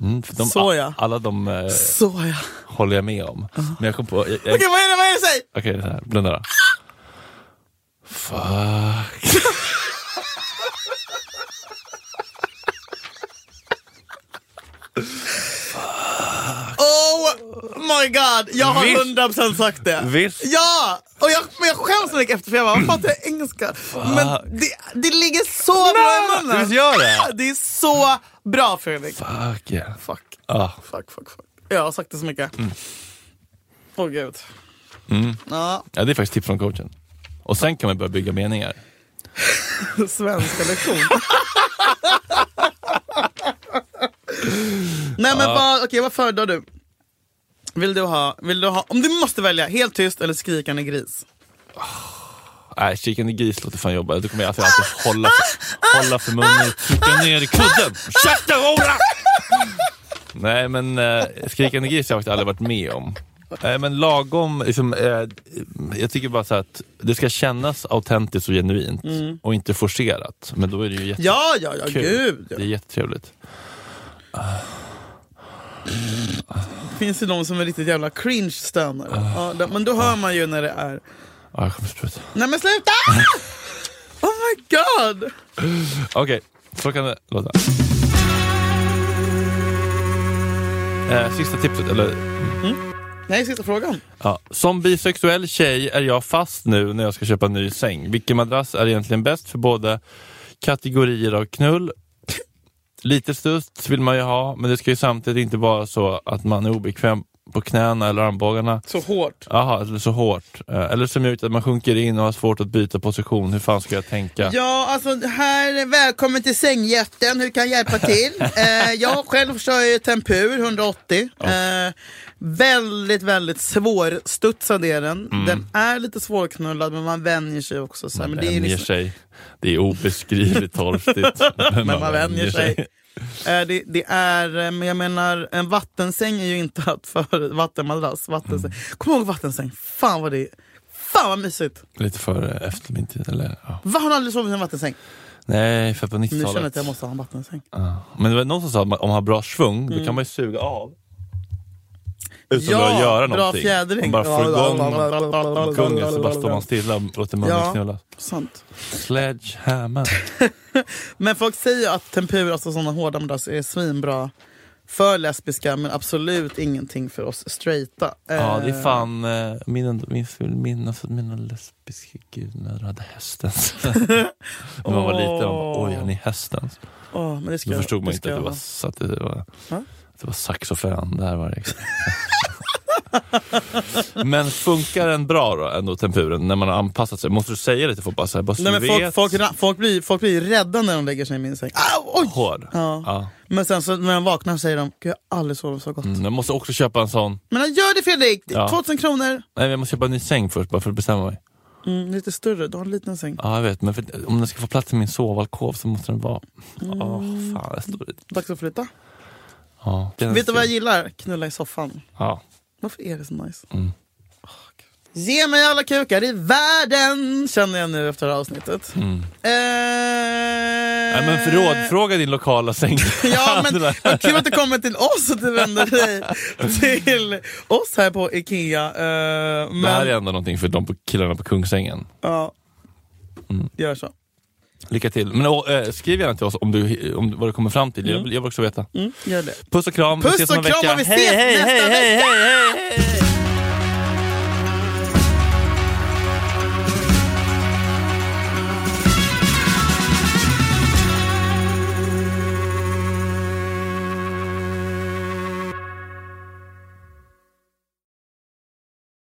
Speaker 3: Mm, för de,
Speaker 2: Så ja.
Speaker 3: a- Alla de eh,
Speaker 2: Så ja.
Speaker 3: håller jag med om. Men jag kom på... jag- jag-
Speaker 2: Okej, vad är det? Vad är det? Säg!
Speaker 3: Okej, det här. blunda då. Fuck.
Speaker 2: Oh my god, jag har
Speaker 3: Visst.
Speaker 2: 100% sagt det.
Speaker 3: Visst.
Speaker 2: Ja! Och jag, men jag skäms så mycket efter för jag bara, vad fan är engelska? Men det, det ligger så bra i munnen.
Speaker 3: Visst gör det?
Speaker 2: [LAUGHS] Det är så bra Fredrik.
Speaker 3: Fuck yeah.
Speaker 2: Fuck,
Speaker 3: Ah,
Speaker 2: fuck, fuck. fuck. Jag har sagt det så mycket.
Speaker 3: Mm.
Speaker 2: Åh gud. Ja,
Speaker 3: ja, det är faktiskt tips från coachen. Och sen kan man börja bygga meningar.
Speaker 2: svenska lektion. [LAUGHS] Nej men vad, okej vad föredrar du? Vill du, ha, vill du ha, om du måste välja, helt tyst eller skrikande gris?
Speaker 3: Nej, chicken i gris låter fan jobba. Då kommer jag alltid, alltid hålla, för, hålla för munnen och trycka ner i kudden. Käften Ola! Nej, men eh, skrikande gris har jag faktiskt aldrig varit med om. Nej, men lagom. Liksom, eh, jag tycker bara så här att det ska kännas autentiskt och genuint och inte forcerat. Men då är det ju jättekul.
Speaker 2: Ja, ja, ja, gud. Ja.
Speaker 3: Det är jättetrevligt.
Speaker 2: Det finns ju de som är riktigt jävla cringe stönare. Ja, det- men då hör man ju när det är...
Speaker 3: Ja, Ah, jag kommer spruta.
Speaker 2: Nej men sluta! Oh my god!
Speaker 3: Okej, så kan det låta. Eh, sista tipset, eller
Speaker 2: Nej, sista frågan.
Speaker 3: Ja. Som bisexuell tjej är jag fast nu när jag ska köpa en ny säng. Vilken madrass är egentligen bäst för både kategorier av knull? Lite stust vill man ju ha, men det ska ju samtidigt inte vara så att man är obekväm på knäna eller armbågarna.
Speaker 2: Så hårt.
Speaker 3: Jaha, eller så hårt. Eh, Eller som gör att man sjunker in och har svårt att byta position. Hur fan ska jag tänka?
Speaker 2: Ja, alltså här, välkommen till sängjätten, hur kan jag hjälpa [LAUGHS] till? eh, jag själv kör ju Tempur 180. Eh, väldigt, väldigt svårstudsad är den. Den är lite svårknullad men Mm. man vänjer sig också. Så här,
Speaker 3: man
Speaker 2: men det är ju
Speaker 3: vänjer
Speaker 2: liksom,
Speaker 3: sig. Det är
Speaker 2: [LAUGHS]
Speaker 3: obeskrivligt torftigt. men
Speaker 2: men man vänjer sig. Eh, det, det är, eh, men jag menar, en vattensäng är ju inte att för vattenmadrass. Vattensäng. Kom ihåg vattensäng, fan vad det är. Fan vad mysigt!
Speaker 3: Lite för eh, efter min tid. Eller, ja.
Speaker 2: Va, har du aldrig sovit i en vattensäng?
Speaker 3: Nej, för på
Speaker 2: Nu
Speaker 3: 90-talet.
Speaker 2: känner jag att jag måste ha en vattensäng.
Speaker 3: Ja. Men det var någon som sa att man- om man har bra svung,
Speaker 2: Mm.
Speaker 3: då kan man ju suga av. Utan att behöva göra
Speaker 2: bra
Speaker 3: någonting.
Speaker 2: fjädring.
Speaker 3: Man bara får igång
Speaker 2: igång
Speaker 3: gungen så bara står man stilla och låter munnen
Speaker 2: Ja.
Speaker 3: knullas.
Speaker 2: Sant.
Speaker 3: Sledgehammer.
Speaker 2: Men folk säger att tempur, alltså sådana hårda madrasser, är svinbra för lesbiska men absolut ingenting för oss straighta.
Speaker 3: ja, det
Speaker 2: Eh,
Speaker 3: är fan... eh, Min, min, vill minnas att mina lesbiska gudmödrar hade
Speaker 2: [LAUGHS]
Speaker 3: hästens. När man var liten, man bara, oj har ni hästens?
Speaker 2: åh, men det ska
Speaker 3: Då
Speaker 2: jag-
Speaker 3: förstod man
Speaker 2: det ska
Speaker 3: inte att det
Speaker 2: jag
Speaker 3: var,
Speaker 2: ha.
Speaker 3: att det var,
Speaker 2: Va?
Speaker 3: att det var saxofön. Där var det. liksom- [LAUGHS] men funkar den bra då, ändå tempuren, när man har anpassat sig? Måste du säga det till folk? Bara, så här, bara, så
Speaker 2: Nej,
Speaker 3: du
Speaker 2: men folk,
Speaker 3: vet.
Speaker 2: folk, ra- folk, blir, folk blir rädda när de lägger sig i min säng. Au, oj!
Speaker 3: Hård.
Speaker 2: Ja.
Speaker 3: Ja.
Speaker 2: Men sen så, när de vaknar säger de, Gud, jag har aldrig sovit så gott.
Speaker 3: Mm, jag måste också köpa en sån.
Speaker 2: Men han gör det Fredrik! Det är
Speaker 3: Ja.
Speaker 2: 2000 kronor!
Speaker 3: Nej, jag måste köpa en ny säng först bara för att bestämma mig.
Speaker 2: Mm, lite större, du har en liten säng.
Speaker 3: Ja, jag vet. Men för, om den ska få plats i min sovalkov så måste den vara... Åh,
Speaker 2: Mm.
Speaker 3: fan. Jag står...
Speaker 2: Dags att flytta.
Speaker 3: ja. Den
Speaker 2: Vet du vad jag
Speaker 3: ska-
Speaker 2: gillar? Knulla i soffan.
Speaker 3: Ja.
Speaker 2: Varför är det så nice?
Speaker 3: Mm.
Speaker 2: Åh, Gud. Ge mig alla kukar i världen, känner jag nu efter det här avsnittet.
Speaker 3: Mm.
Speaker 2: Eh...
Speaker 3: Nej, men förrådfråga din lokala säng.
Speaker 2: [LAUGHS]
Speaker 3: [LAUGHS]
Speaker 2: Ja, men vad kul att du kommer till oss och du vänder dig till oss här på Ikea. Eh, men,
Speaker 3: Det här är ändå någonting för de på killarna på Kungsängen.
Speaker 2: ja.
Speaker 3: Mm.
Speaker 2: Gör så.
Speaker 3: Lycka till. Men och, eh, skriv gärna till oss om du, om, vad du kommer fram till. Jag, vill, jag vill också veta.
Speaker 2: Mm, gör det.
Speaker 3: Puss och kram.
Speaker 2: Puss
Speaker 3: vi ses om en
Speaker 2: och kram
Speaker 3: vecka.
Speaker 2: och vi ses
Speaker 3: hej, hej,
Speaker 2: nästa
Speaker 3: hej, hej,
Speaker 2: vecka!
Speaker 3: hej, hej, hej.